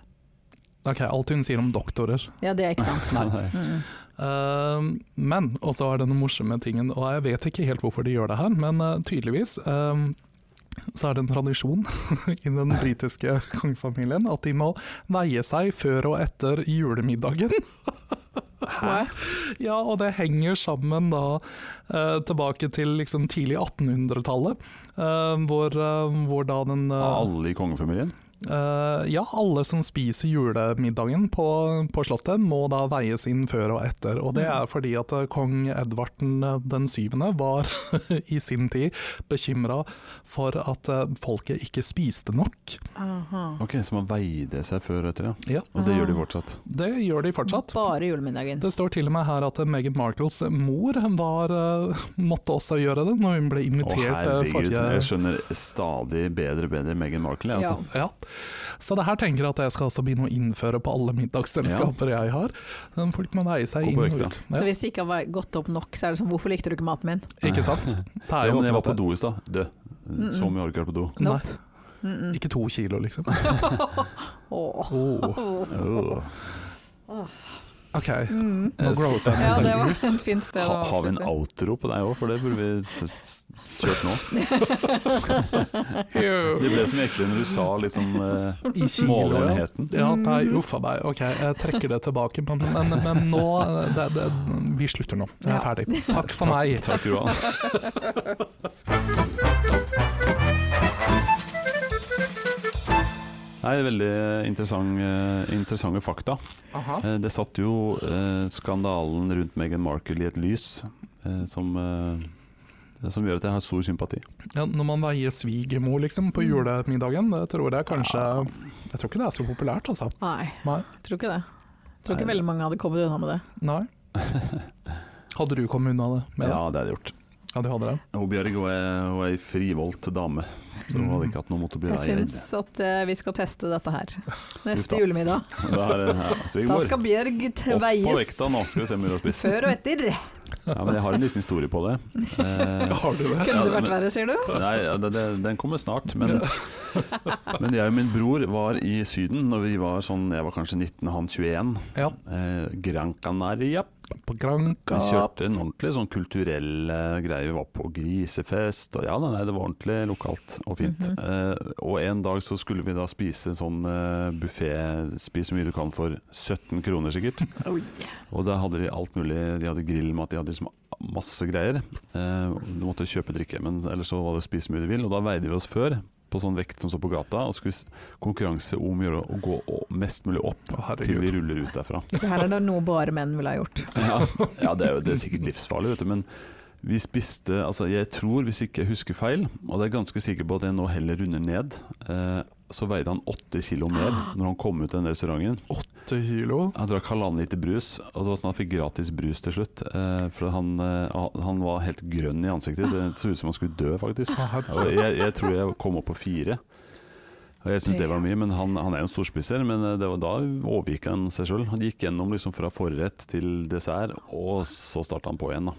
Speaker 4: Ok, Alt hun sier om doktorer.
Speaker 3: Ja, det er ikke sant.
Speaker 2: Nei.
Speaker 3: Mm -mm.
Speaker 4: Ehm, men, og så er denne morsomme tingen, og jeg vet ikke helt hvorfor de gjør det her, men eh, tydeligvis ehm, så er det en tradisjon i den britiske kongefamilien at de må veie seg før og etter julemiddagen.
Speaker 3: What?
Speaker 4: Ja, og det henger sammen da eh, tilbake til liksom tidlig 1800-tallet, eh, hvor, eh, hvor da den eh,
Speaker 2: Alle i kongefamilien?
Speaker 4: Eh, ja, alle som spiser julemiddagen på, på Slottet må da veies inn før og etter.
Speaker 2: Mm.
Speaker 4: Og det er fordi at eh, kong Edvard den- eh, den syvende var i sin tid bekymra for at eh, folket ikke spiste nok.
Speaker 3: Aha.
Speaker 2: Ok, Så man veide seg før og etter, ja.
Speaker 4: Ja,
Speaker 2: Og det gjør de fortsatt.
Speaker 4: Det gjør de fortsatt.
Speaker 3: Bare julemiddagen.
Speaker 4: Det står til og med her at eh, Meghan Markles mor var, eh, måtte også gjøre det når hun ble
Speaker 2: Å
Speaker 4: invitert eh,
Speaker 2: herregud,
Speaker 4: forrige
Speaker 2: jeg skjønner stadig bedre og bedre Meghan Markle. jeg, Altså.
Speaker 4: Ja. Så det her tenker jeg at jeg skal også begynne å innføre på alle middagsselskaper jeg har. Eh, Folk må veie seg
Speaker 2: Gå
Speaker 4: inn
Speaker 2: på
Speaker 4: og
Speaker 2: økta.
Speaker 4: ut.
Speaker 3: Så
Speaker 4: Ja.
Speaker 3: hvis det ikke har vært godt opp nok, så er det sånn hvorfor likte du ikke maten min?
Speaker 4: Ikke sant? Det
Speaker 2: Ja.
Speaker 4: er jo
Speaker 2: men jeg var på
Speaker 4: akkurat
Speaker 2: do i stad. Du, så mye har du ikke vært på do.
Speaker 4: det. Nei,
Speaker 3: Mm -mm.
Speaker 4: ikke to kilo, liksom.
Speaker 3: Åh.
Speaker 4: Oh.
Speaker 2: Åh.
Speaker 4: Ok,
Speaker 3: Mm.
Speaker 2: Eh,
Speaker 4: nå grosser jeg
Speaker 3: Ja, det
Speaker 4: meg
Speaker 3: var
Speaker 4: selv ut.
Speaker 3: et fint sted å
Speaker 2: Ha, har vi en
Speaker 3: avslutte.
Speaker 2: outro på deg òg, for det burde vi s s kjørt nå. Det ble så mye eklere når du sa liksom eh,
Speaker 4: I kilo, ja.
Speaker 2: målenheten.
Speaker 4: Ja, nei, uff a meg. Ok, jeg trekker det tilbake, men, men, men nå eh, det, det, Vi slutter nå. Jeg er
Speaker 3: Ja.
Speaker 4: ferdig. Takk for meg.
Speaker 2: Takk, Johan. Nei, veldig interessant, eh, interessante fakta.
Speaker 4: Aha.
Speaker 2: Eh, Det satt jo eh, skandalen rundt Meghan Markle i et lys eh, som, eh, som gjør at jeg har stor sympati.
Speaker 4: Ja, når man veier svigermor liksom, på julemiddagen, det tror jeg kanskje Jeg tror ikke det er så populært, altså.
Speaker 3: Nei,
Speaker 4: Nei.
Speaker 3: jeg tror ikke det. Jeg tror ikke
Speaker 2: Nei.
Speaker 3: veldig mange hadde kommet unna med det.
Speaker 4: Nei. Hadde du kommet unna det? Med
Speaker 2: Ja, det er det gjort.
Speaker 4: det? ja, du hadde det?
Speaker 2: Hun Bjørg hun er, hun er ei frivoldt dame, så hun hadde ikke hatt noe mot å bli
Speaker 3: Jeg
Speaker 2: redd.
Speaker 3: syns at eh, vi skal teste dette her.
Speaker 2: da.
Speaker 3: Neste julemiddag.
Speaker 2: Da er det ja,
Speaker 3: Da
Speaker 2: svigermor.
Speaker 3: skal Bjørg
Speaker 2: Opp på
Speaker 3: tveies
Speaker 2: vekta nå, skal vi se om hun har spist.
Speaker 3: før og etter.
Speaker 2: Ja, men jeg har en liten historie på det. Eh,
Speaker 4: Har du det?
Speaker 3: Kunne det
Speaker 2: men-
Speaker 3: vært verre, sier du?
Speaker 2: Nei, ja, det, det, den kommer snart. Men, men jeg og min bror var i Syden når vi var sånn Jeg var kanskje 19, han 21.
Speaker 4: Ja.
Speaker 2: Eh, Gran Canaria.
Speaker 4: vært på Granka.
Speaker 2: Vi kjørte en ordentlig sånn kulturell eh, greie. Vi var på grisefest, og ja, nei, nei, det var ordentlig lokalt og fint.
Speaker 3: Mhm.
Speaker 2: Eh, og en dag så skulle vi da spise sånn uh, buffé, spis så mye du kan for 17 kroner sikkert. Og da hadde de alt mulig. De hadde grillmat, de hadde liksom masse greier. Eh, du måtte kjøpe drikke, men ellers så var det spis så mye du vil. Og da veide vi oss før på sånn vekt som står på gata, og skulle s- konkurranse om å gjøre å gå å- mest mulig opp
Speaker 4: Å, herregud.
Speaker 2: til vi ruller ut derfra.
Speaker 3: Det her er det noe bare menn ville ha gjort.
Speaker 2: Ja, ja det, er jo, det er sikkert livsfarlig, vet du. Men vi spiste altså Jeg tror, hvis ikke jeg husker feil, og det er jeg ganske sikker på at jeg nå heller runder ned, eh, så veide han åtte kilo mer når han kom ut av den restauranten.
Speaker 4: Åtte kilo.
Speaker 2: Han drakk halvannen liter brus, og det var sånn at han fikk gratis brus til slutt. Eh, for han, eh, han var helt grønn i ansiktet. Det så ut som han skulle dø, faktisk.
Speaker 4: Å, her-
Speaker 2: Og jeg, jeg tror jeg kom opp på fire. Og jeg syns det var mye, men han, han er jo en storspiser. Men eh, det var da overgikk han seg sjøl. Han gikk gjennom liksom fra forrett til dessert, og så starta han på igjen. Da.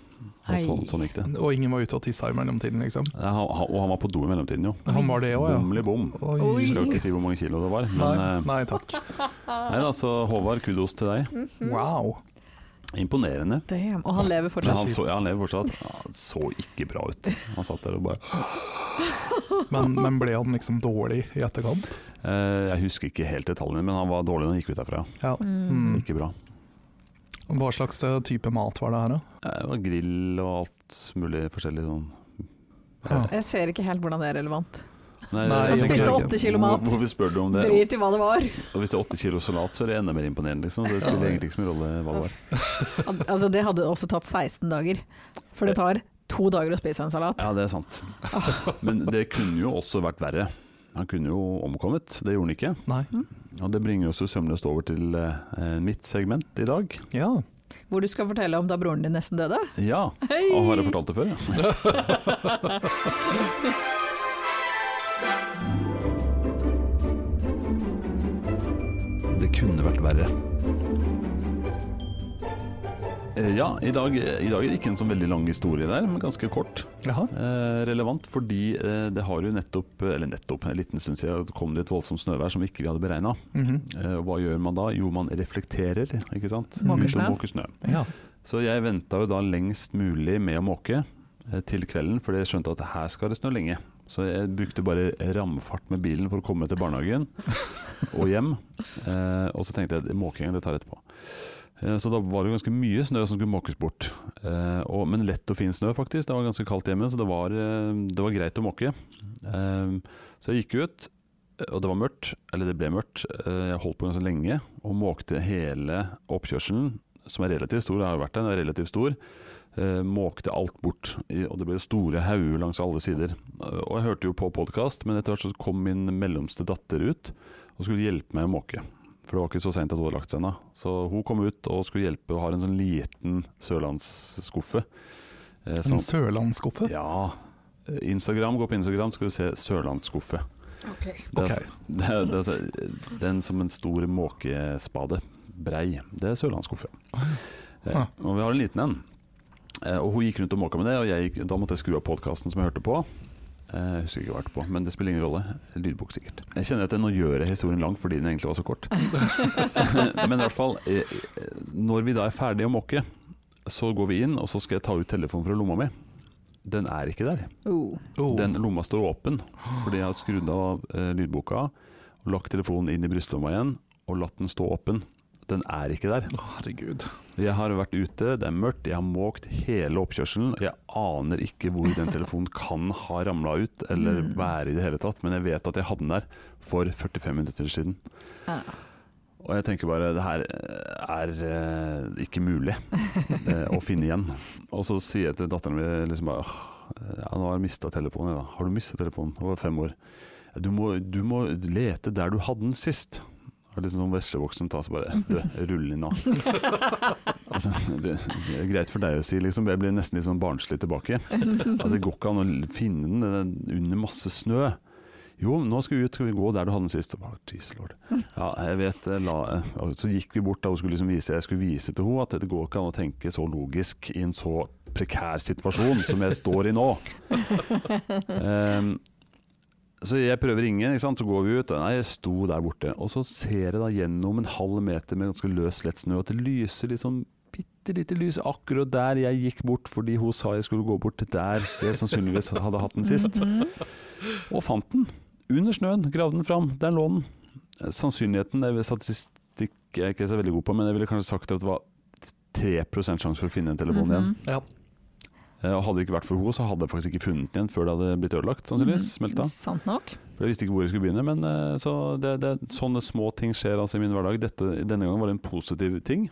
Speaker 2: Og så,
Speaker 3: Ei.
Speaker 2: sånn gikk det.
Speaker 4: Og ingen var ute og tissa i mellomtiden, liksom.
Speaker 2: Ja, Han, han, og han var på do i mellomtiden, jo.
Speaker 4: Han var det òg, ja.
Speaker 2: Bomli bom.
Speaker 4: Oi.
Speaker 3: Oi.
Speaker 2: Skal jo ikke si hvor mange kilo det var.
Speaker 4: Nei,
Speaker 2: Men eh,
Speaker 4: nei takk.
Speaker 2: nei da, så Håvard, kudos til deg.
Speaker 4: Wow.
Speaker 2: Imponerende.
Speaker 3: Damn. Og han lever
Speaker 2: Men
Speaker 3: fortsatt.
Speaker 2: han, så, ja, han lever fortsatt. Han så ikke bra ut. Han satt der og bare
Speaker 4: Men, men ble han liksom dårlig i etterkant?
Speaker 2: eh, Jeg husker ikke helt detaljene, men han var dårlig når han gikk ut derfra.
Speaker 4: Ja.
Speaker 3: Mm.
Speaker 4: Mm.
Speaker 2: Ikke bra.
Speaker 4: Hva slags eh, type mat var det her, da?
Speaker 2: Eh, Det var grill og alt mulig forskjellig sånn.
Speaker 4: Ja.
Speaker 3: Jeg ser ikke helt hvordan det er relevant.
Speaker 2: Nei,
Speaker 4: Nei, Han
Speaker 2: jeg tenker
Speaker 4: spiste
Speaker 2: ikke-
Speaker 3: åtte kilo mat.
Speaker 2: Hvor- Hvorfor spør du om det?
Speaker 3: Drit i hva det var!
Speaker 2: Og hvis det er åtte kilo salat, så er det enda mer imponerende, liksom. Det spiller egentlig ikke så mye rolle hva det var.
Speaker 3: Al- Altså, det hadde også tatt 16 dager. For det tar to dager å spise en salat.
Speaker 2: Ja, det er sant. Men det kunne jo også vært verre. Han kunne jo omkommet, det gjorde han ikke.
Speaker 4: Nei.
Speaker 2: Og det bringer oss jo sømløst over til eh, mitt segment i dag.
Speaker 4: Ja.
Speaker 3: Hvor du skal fortelle om da broren din nesten døde.
Speaker 2: Ja,
Speaker 3: Hei!
Speaker 2: og har jeg fortalt det før? Ja. Det kunne vært verre. Eh, Ja, i dag, i dag er det ikke en sånn veldig lang historie der, men ganske kort.
Speaker 4: Jaha.
Speaker 2: Eh, relevant fordi eh, det har jo nettopp, eller nettopp, en liten stund siden det kom det et voldsomt snøvær som ikke vi hadde beregna.
Speaker 4: Mhm.
Speaker 2: Eh, og hva gjør man da? Jo, man reflekterer, ikke sant.
Speaker 3: Måker
Speaker 2: Ut og
Speaker 3: snø.
Speaker 2: Måker snø.
Speaker 4: ja.
Speaker 2: Så jeg venta jo da lengst mulig med å måke eh, til kvelden, fordi jeg skjønte at her skal det snø lenge. Så jeg brukte bare ramfart med bilen for å komme til barnehagen og hjem. Eh, og så tenkte jeg måkinga, det tar jeg etterpå. Eh, Så da var det ganske mye snø som skulle måkes bort. Eh, og, men lett og fin snø, faktisk. Det var ganske kaldt hjemme, så det var, eh, det var greit å måke. Eh, så jeg gikk ut, og det var mørkt. Eller det ble mørkt. Eh, jeg holdt på ganske lenge og måkte hele oppkjørselen som er relativt stor, det har jo vært det, den er relativt stor, eh, måkte alt bort. I, og det ble store hauger langs alle sider. Eh, og jeg hørte jo på podkast, men etter hvert så kom min mellomste datter ut og skulle hjelpe meg å måke. For det var ikke så seint at hun hadde lagt seg ennå. Så hun kom ut og skulle hjelpe og har en sånn liten sørlandsskuffe. Eh,
Speaker 4: En
Speaker 2: sånn-
Speaker 4: sørlandsskuffe?
Speaker 2: ja. Instagram, gå på Instagram, skal du se Sørlandsskuffe. Det er,
Speaker 4: Ok.
Speaker 2: det er, det er, så- den som en stor måkespade. Brei. Det er Sørlandsskuffe. Eh,
Speaker 4: Ah.
Speaker 2: og vi har en liten en. Eh, og hun gikk rundt og måka med det, og jeg gikk, da måtte jeg skru av podkasten som jeg hørte på. Eh, Jeg husker ikke hva jeg hørte på, men det spiller ingen rolle. Lydbok, sikkert. Jeg kjenner at jeg nå gjør jeg historien lang fordi den egentlig var så kort. men i hvert fall, eh, når vi da er ferdige å måke, så går vi inn, og så skal jeg ta ut telefonen fra lomma mi. Den er ikke der.
Speaker 3: Oh.
Speaker 4: Oh.
Speaker 2: Den lomma står åpen, fordi jeg har skrudd av eh, lydboka, og lagt telefonen inn i brystlomma igjen, og latt den stå åpen. Den er ikke der.
Speaker 4: Å, herregud.
Speaker 2: Jeg har vært ute, det er mørkt, jeg har måkt hele oppkjørselen. og Jeg aner ikke hvor den telefonen kan ha ramla ut, eller
Speaker 3: Mm.
Speaker 2: være i det hele tatt, men jeg vet at jeg hadde den der for 45 minutter siden.
Speaker 3: Ja.
Speaker 2: Og jeg tenker bare det her er eh, ikke mulig eh, å finne igjen. Og så sier jeg til datteren min liksom bare «Åh, ja, nå har jeg mista telefonen. jeg da. Har du mistet telefonen? Hun var fem år. Du må, du må lete der du hadde den sist. Og liksom sånn veslevoksen tar seg bare Du, rull inn nå. altså, det, det er greit for deg å si, liksom. Jeg blir nesten litt sånn barnslig tilbake. Altså, det går ikke an å finne den, den er under masse snø. Jo, nå skal vi ut, skal vi gå der du hadde den sist. Og bare, Jeez lord. Ja, jeg vet, eh, la, eh, og så gikk vi bort da hun skulle liksom vise, jeg skulle vise til henne at det går ikke an å tenke så logisk i en så prekær situasjon som jeg står i nå. Ehm, så jeg prøver å ringe, ikke sant? så går vi ut. og Nei, jeg sto der borte. Og så ser jeg da gjennom en halv meter med ganske løs, lett snø at det lyser litt sånn bitte bitte lite lys akkurat der jeg gikk bort fordi hun sa jeg skulle gå bort der jeg sannsynligvis hadde hatt den sist.
Speaker 3: Mhm.
Speaker 2: Og fant den. Under snøen. Gravde den fram. Der lå den. Sannsynligheten det er statistikk jeg ikke er så veldig god på, men jeg ville kanskje sagt at det var 3 sjanse for å finne en telefon igjen.
Speaker 3: Mhm.
Speaker 4: Ja.
Speaker 2: Eh, Og Hadde det ikke vært for henne, så hadde jeg faktisk ikke funnet den igjen før det hadde blitt ødelagt, sannsynligvis. Smelta.
Speaker 3: Mhm. Sant nok.
Speaker 2: For Jeg visste ikke hvor jeg skulle begynne, men eh, så det, det, sånne små ting skjer altså i min hverdag. Dette, denne gangen var det en positiv ting.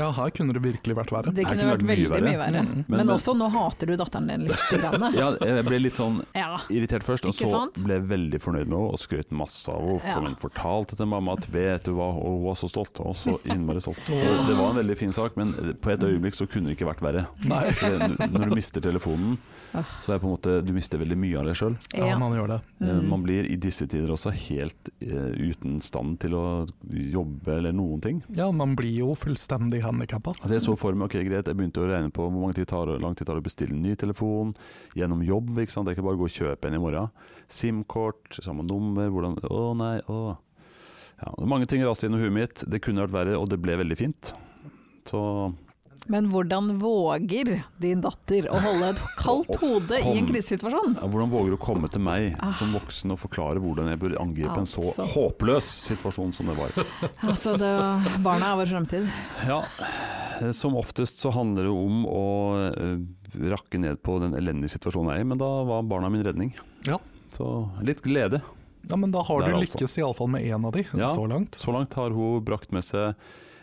Speaker 4: ja, her kunne det virkelig vært verre.
Speaker 3: Det
Speaker 2: Her
Speaker 3: kunne vært veldig mye verre.
Speaker 4: Mm.
Speaker 3: Men,
Speaker 2: Men-
Speaker 3: også, nå hater du datteren din litt. Grann.
Speaker 2: Ja, jeg ble litt sånn
Speaker 3: Ja.
Speaker 2: irritert først, og
Speaker 3: Ikke
Speaker 2: så
Speaker 3: sant?
Speaker 2: ble jeg veldig fornøyd med henne og skrøt masse av henne.
Speaker 3: Ja.
Speaker 2: For Hun fortalte til mamma at vet du hva, og hun var så stolt, og så innmari stolt. Så det var en veldig fin sak, men på et øyeblikk så kunne det ikke vært verre.
Speaker 4: Nei,
Speaker 2: For det- Når du mister telefonen,
Speaker 3: Ah.
Speaker 2: så er det på en måte du mister veldig mye av deg sjøl.
Speaker 4: ja,
Speaker 3: ja.
Speaker 4: man gjør det.
Speaker 3: Mm.
Speaker 2: eh, Man blir i disse tider også helt eh, uten stand til å jobbe eller noen ting.
Speaker 4: Ja, man blir jo fullstendig handikappa.
Speaker 2: Altså jeg så for meg, ok greit, jeg begynte å regne på hvor mange tid tar, hvor lang tid tar det å bestille en ny telefon, gjennom jobb, ikke sant? det er ikke bare å gå og kjøpe en i morgen. SIM-kort, samme nummer, hvordan, å nei, å. Ja, det er mange ting raste inn i huet mitt, det kunne vært verre, og det ble veldig fint. Så
Speaker 3: Men hvordan våger din datter å holde et kaldt hode i en krisesituasjon?
Speaker 2: ja, hvordan våger du å komme til meg som voksen og forklare hvordan jeg bør angripe en så
Speaker 3: Altså.
Speaker 2: håpløs situasjon som det var?
Speaker 3: Altså, det, barna er vår fremtid.
Speaker 2: Ja, eh, som oftest så handler det om å eh, rakke ned på den elendige situasjonen jeg er i, men da var barna min redning.
Speaker 4: Ja.
Speaker 2: Så litt glede.
Speaker 4: Ja, men da har
Speaker 2: Der
Speaker 4: du
Speaker 2: altså.
Speaker 4: lykkes iallfall med én av de,
Speaker 2: Ja.
Speaker 4: så langt.
Speaker 2: Så langt har hun brakt med seg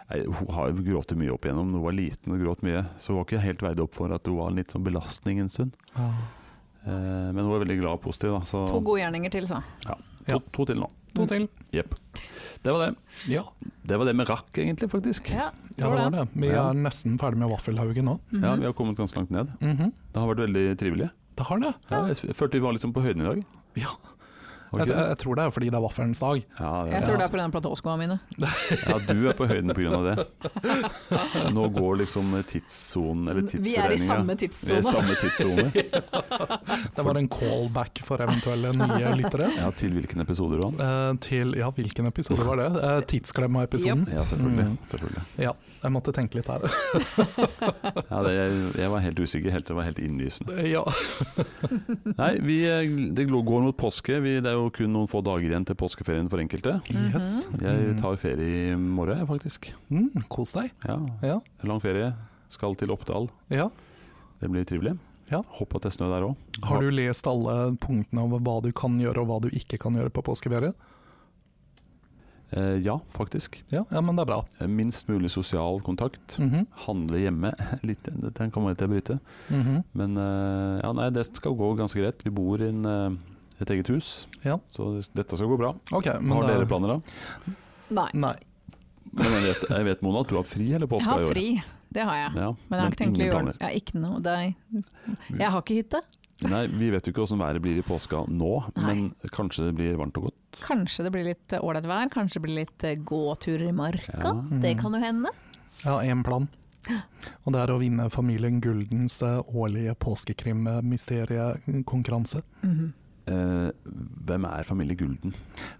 Speaker 2: Nei, Hun har jo grått mye opp igjennom, hun var liten og gråt mye, så hun var ikke helt veid opp for at hun var en litt sånn belastning en stund.
Speaker 4: Ja.
Speaker 2: Eh, Men hun er veldig glad og positiv, da. Så
Speaker 3: To godgjerninger til, så.
Speaker 2: to, to til nå.
Speaker 4: To til.
Speaker 2: Jepp. Det var det.
Speaker 4: Mm. Ja,
Speaker 2: Det var det vi rakk, egentlig, faktisk.
Speaker 3: Ja,
Speaker 4: ja, det var det. Vi
Speaker 2: Ja.
Speaker 4: er nesten ferdig med vaffelhaugen nå.
Speaker 3: Mhm.
Speaker 2: Ja, Vi har kommet ganske langt ned.
Speaker 4: Mhm.
Speaker 2: Det har vært veldig trivelig.
Speaker 4: Det har det.
Speaker 2: Ja, jeg følte vi var liksom på høyden i dag.
Speaker 4: Ja.
Speaker 2: Var
Speaker 4: Jeg,
Speaker 2: det ikke det?
Speaker 4: jeg tror det er fordi det er vaffelens dag.
Speaker 2: Ja, det
Speaker 3: Jeg
Speaker 2: er
Speaker 3: tror det er pga. platåskoa mine.
Speaker 2: Ja, du er på høyden pga. det. Nå går liksom tidssonen, eller
Speaker 3: Vi er i samme
Speaker 2: tidsregninga Vi er i
Speaker 3: tidssone.
Speaker 2: samme tidssone.
Speaker 4: Det var en callback for eventuelle nye lyttere.
Speaker 2: Ja, til hvilken episode, Rohan?
Speaker 4: Eh, til Ja, hvilken episode var det? Eh, Tidsklemma-episoden.
Speaker 2: Ja, selvfølgelig.
Speaker 4: Mm.
Speaker 2: selvfølgelig.
Speaker 4: Ja, jeg måtte tenke litt her.
Speaker 2: Ja, det, jeg, jeg var helt usikker, helt til det var helt innlysende.
Speaker 4: ja.
Speaker 2: Nei, vi, eh, det går mot påske. Vi, det er jo kun noen få dager igjen til påskeferien for enkelte.
Speaker 4: Yes.
Speaker 2: Mm-hmm. Jeg
Speaker 3: Mm.
Speaker 2: tar ferie i morgen, jeg, faktisk.
Speaker 4: Mm, kos deg.
Speaker 2: Ja,
Speaker 4: Ja.
Speaker 2: Lang ferie. Skal til Oppdal.
Speaker 4: ja.
Speaker 2: Det blir trivelig.
Speaker 4: Ja.
Speaker 2: Håper at det er snø der òg.
Speaker 4: Har du lest alle punktene om hva du kan gjøre og hva du ikke kan gjøre på påskeferie?
Speaker 2: Eh, ja, faktisk.
Speaker 4: Ja, ja men det er bra.
Speaker 2: Eh, Minst mulig sosial kontakt.
Speaker 4: Mhm,
Speaker 2: Handle hjemme. Litt, den kommer jeg til å bryte.
Speaker 4: mhm.
Speaker 2: Men eh, ja, nei, det skal gå ganske greit. Vi bor i en, eh, et eget hus,
Speaker 4: Ja.
Speaker 2: så det- dette skal gå bra.
Speaker 4: Ok, men
Speaker 2: har
Speaker 4: det er-
Speaker 2: dere planer, da?
Speaker 3: Nei.
Speaker 4: Nei.
Speaker 2: Men jeg, vet, jeg vet, Mona, at du har fri hele
Speaker 3: Jeg
Speaker 2: påska
Speaker 3: har fri, det har jeg.
Speaker 2: Ja,
Speaker 3: Men jeg har ikke tenkt å
Speaker 2: ingen
Speaker 3: gjøre
Speaker 2: planer.
Speaker 3: Jeg har ikke noe det er,
Speaker 2: Mm.
Speaker 3: Jeg har ikke hytte.
Speaker 2: Nei, Vi vet jo ikke hvordan været blir i påska nå,
Speaker 3: Nei.
Speaker 2: men kanskje det blir varmt og godt.
Speaker 3: Kanskje det blir litt eh, ålreit vær, kanskje det blir litt eh, gåturer i marka. Det
Speaker 2: Mm.
Speaker 3: kan jo hende.
Speaker 4: Mm-hmm. Jeg har én plan. Og det er å vinne familien Guldens eh, årlige påskekrim-mysteriekonkurranse.
Speaker 2: Eh, hvem er familie Gulden?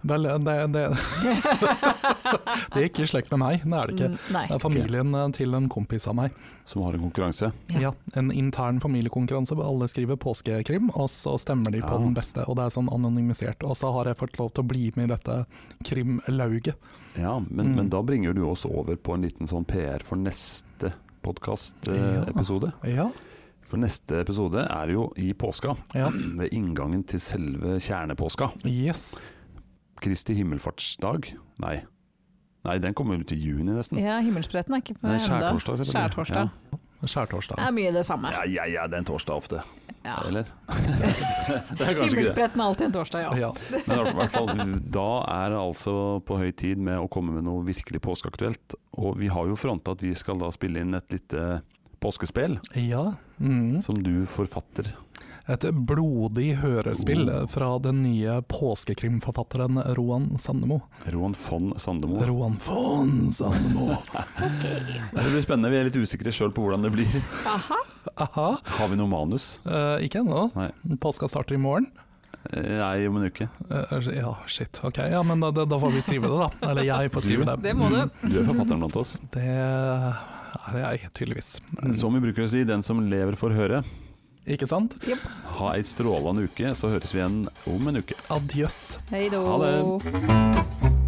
Speaker 4: Vel, det, det Det er ikke i slekt med meg, det er det ikke.
Speaker 2: Mm,
Speaker 3: Nei.
Speaker 4: Det er familien eh, til en kompis av meg.
Speaker 2: Som har en konkurranse.
Speaker 3: Ja.
Speaker 4: Ja. En intern familiekonkurranse hvor alle skriver påskekrim, og så stemmer de på
Speaker 2: Ja.
Speaker 4: den beste. Og det er sånn anonymisert. Og så har jeg fått lov til å bli med i dette krimlauget.
Speaker 2: Ja, Men,
Speaker 4: Mm.
Speaker 2: men da bringer du oss over på en liten sånn PR for neste
Speaker 4: Ja.
Speaker 2: podkastepisode.
Speaker 4: Ja,
Speaker 2: For neste episode er jo i påska.
Speaker 4: Ja.
Speaker 2: Ved inngangen til selve kjernepåska.
Speaker 4: yes.
Speaker 2: Kristi himmelfartsdag? Nei. Nei, den kommer jo ut i juni nesten.
Speaker 3: Ja, himmelspretten er ikke på
Speaker 2: Nei,
Speaker 3: enda.
Speaker 2: skjærtorsdag, selvfølgelig.
Speaker 3: Skjærtorsdag. Det
Speaker 4: Skjærtorsdag.
Speaker 3: er mye det samme.
Speaker 2: Ja, ja, ja, det er en torsdag ofte.
Speaker 3: Ja.
Speaker 2: Eller? det er kanskje ikke det.
Speaker 3: Himmelspretten er alltid en torsdag, ja.
Speaker 4: Ja.
Speaker 2: Men i hvert fall, da er det altså på høy tid med å komme med noe virkelig påskeaktuelt. Og vi har jo fronta at vi skal da spille inn et lite påskespill
Speaker 4: ja. Mm.
Speaker 2: som du forfatter.
Speaker 4: Et blodig hørespill fra den nye påskekrimforfatteren Roan Sandemo.
Speaker 2: Roan von Sandemo.
Speaker 4: Roan von Sandemo.
Speaker 2: Det blir spennende. Vi er litt usikre sjøl på hvordan det blir.
Speaker 3: Aha.
Speaker 4: Aha,
Speaker 2: Har vi noe manus?
Speaker 4: eh, ikke ennå.
Speaker 2: Nei.
Speaker 4: Påska starter i morgen.
Speaker 2: Eh, Nei, om en uke.
Speaker 4: Eh, ja, shit. Ok, ja, men da, da får vi skrive det, da. Eller jeg får skrive det.
Speaker 3: Det må du.
Speaker 2: Du er forfatteren blant oss.
Speaker 4: Det er jeg tydeligvis.
Speaker 2: Som vi bruker å si, den som lever får høre.
Speaker 4: Ikke sant?
Speaker 2: Ha ei strålende uke, så høres vi igjen om en uke.
Speaker 4: Adjøs.
Speaker 3: Hei då.
Speaker 2: Ha det.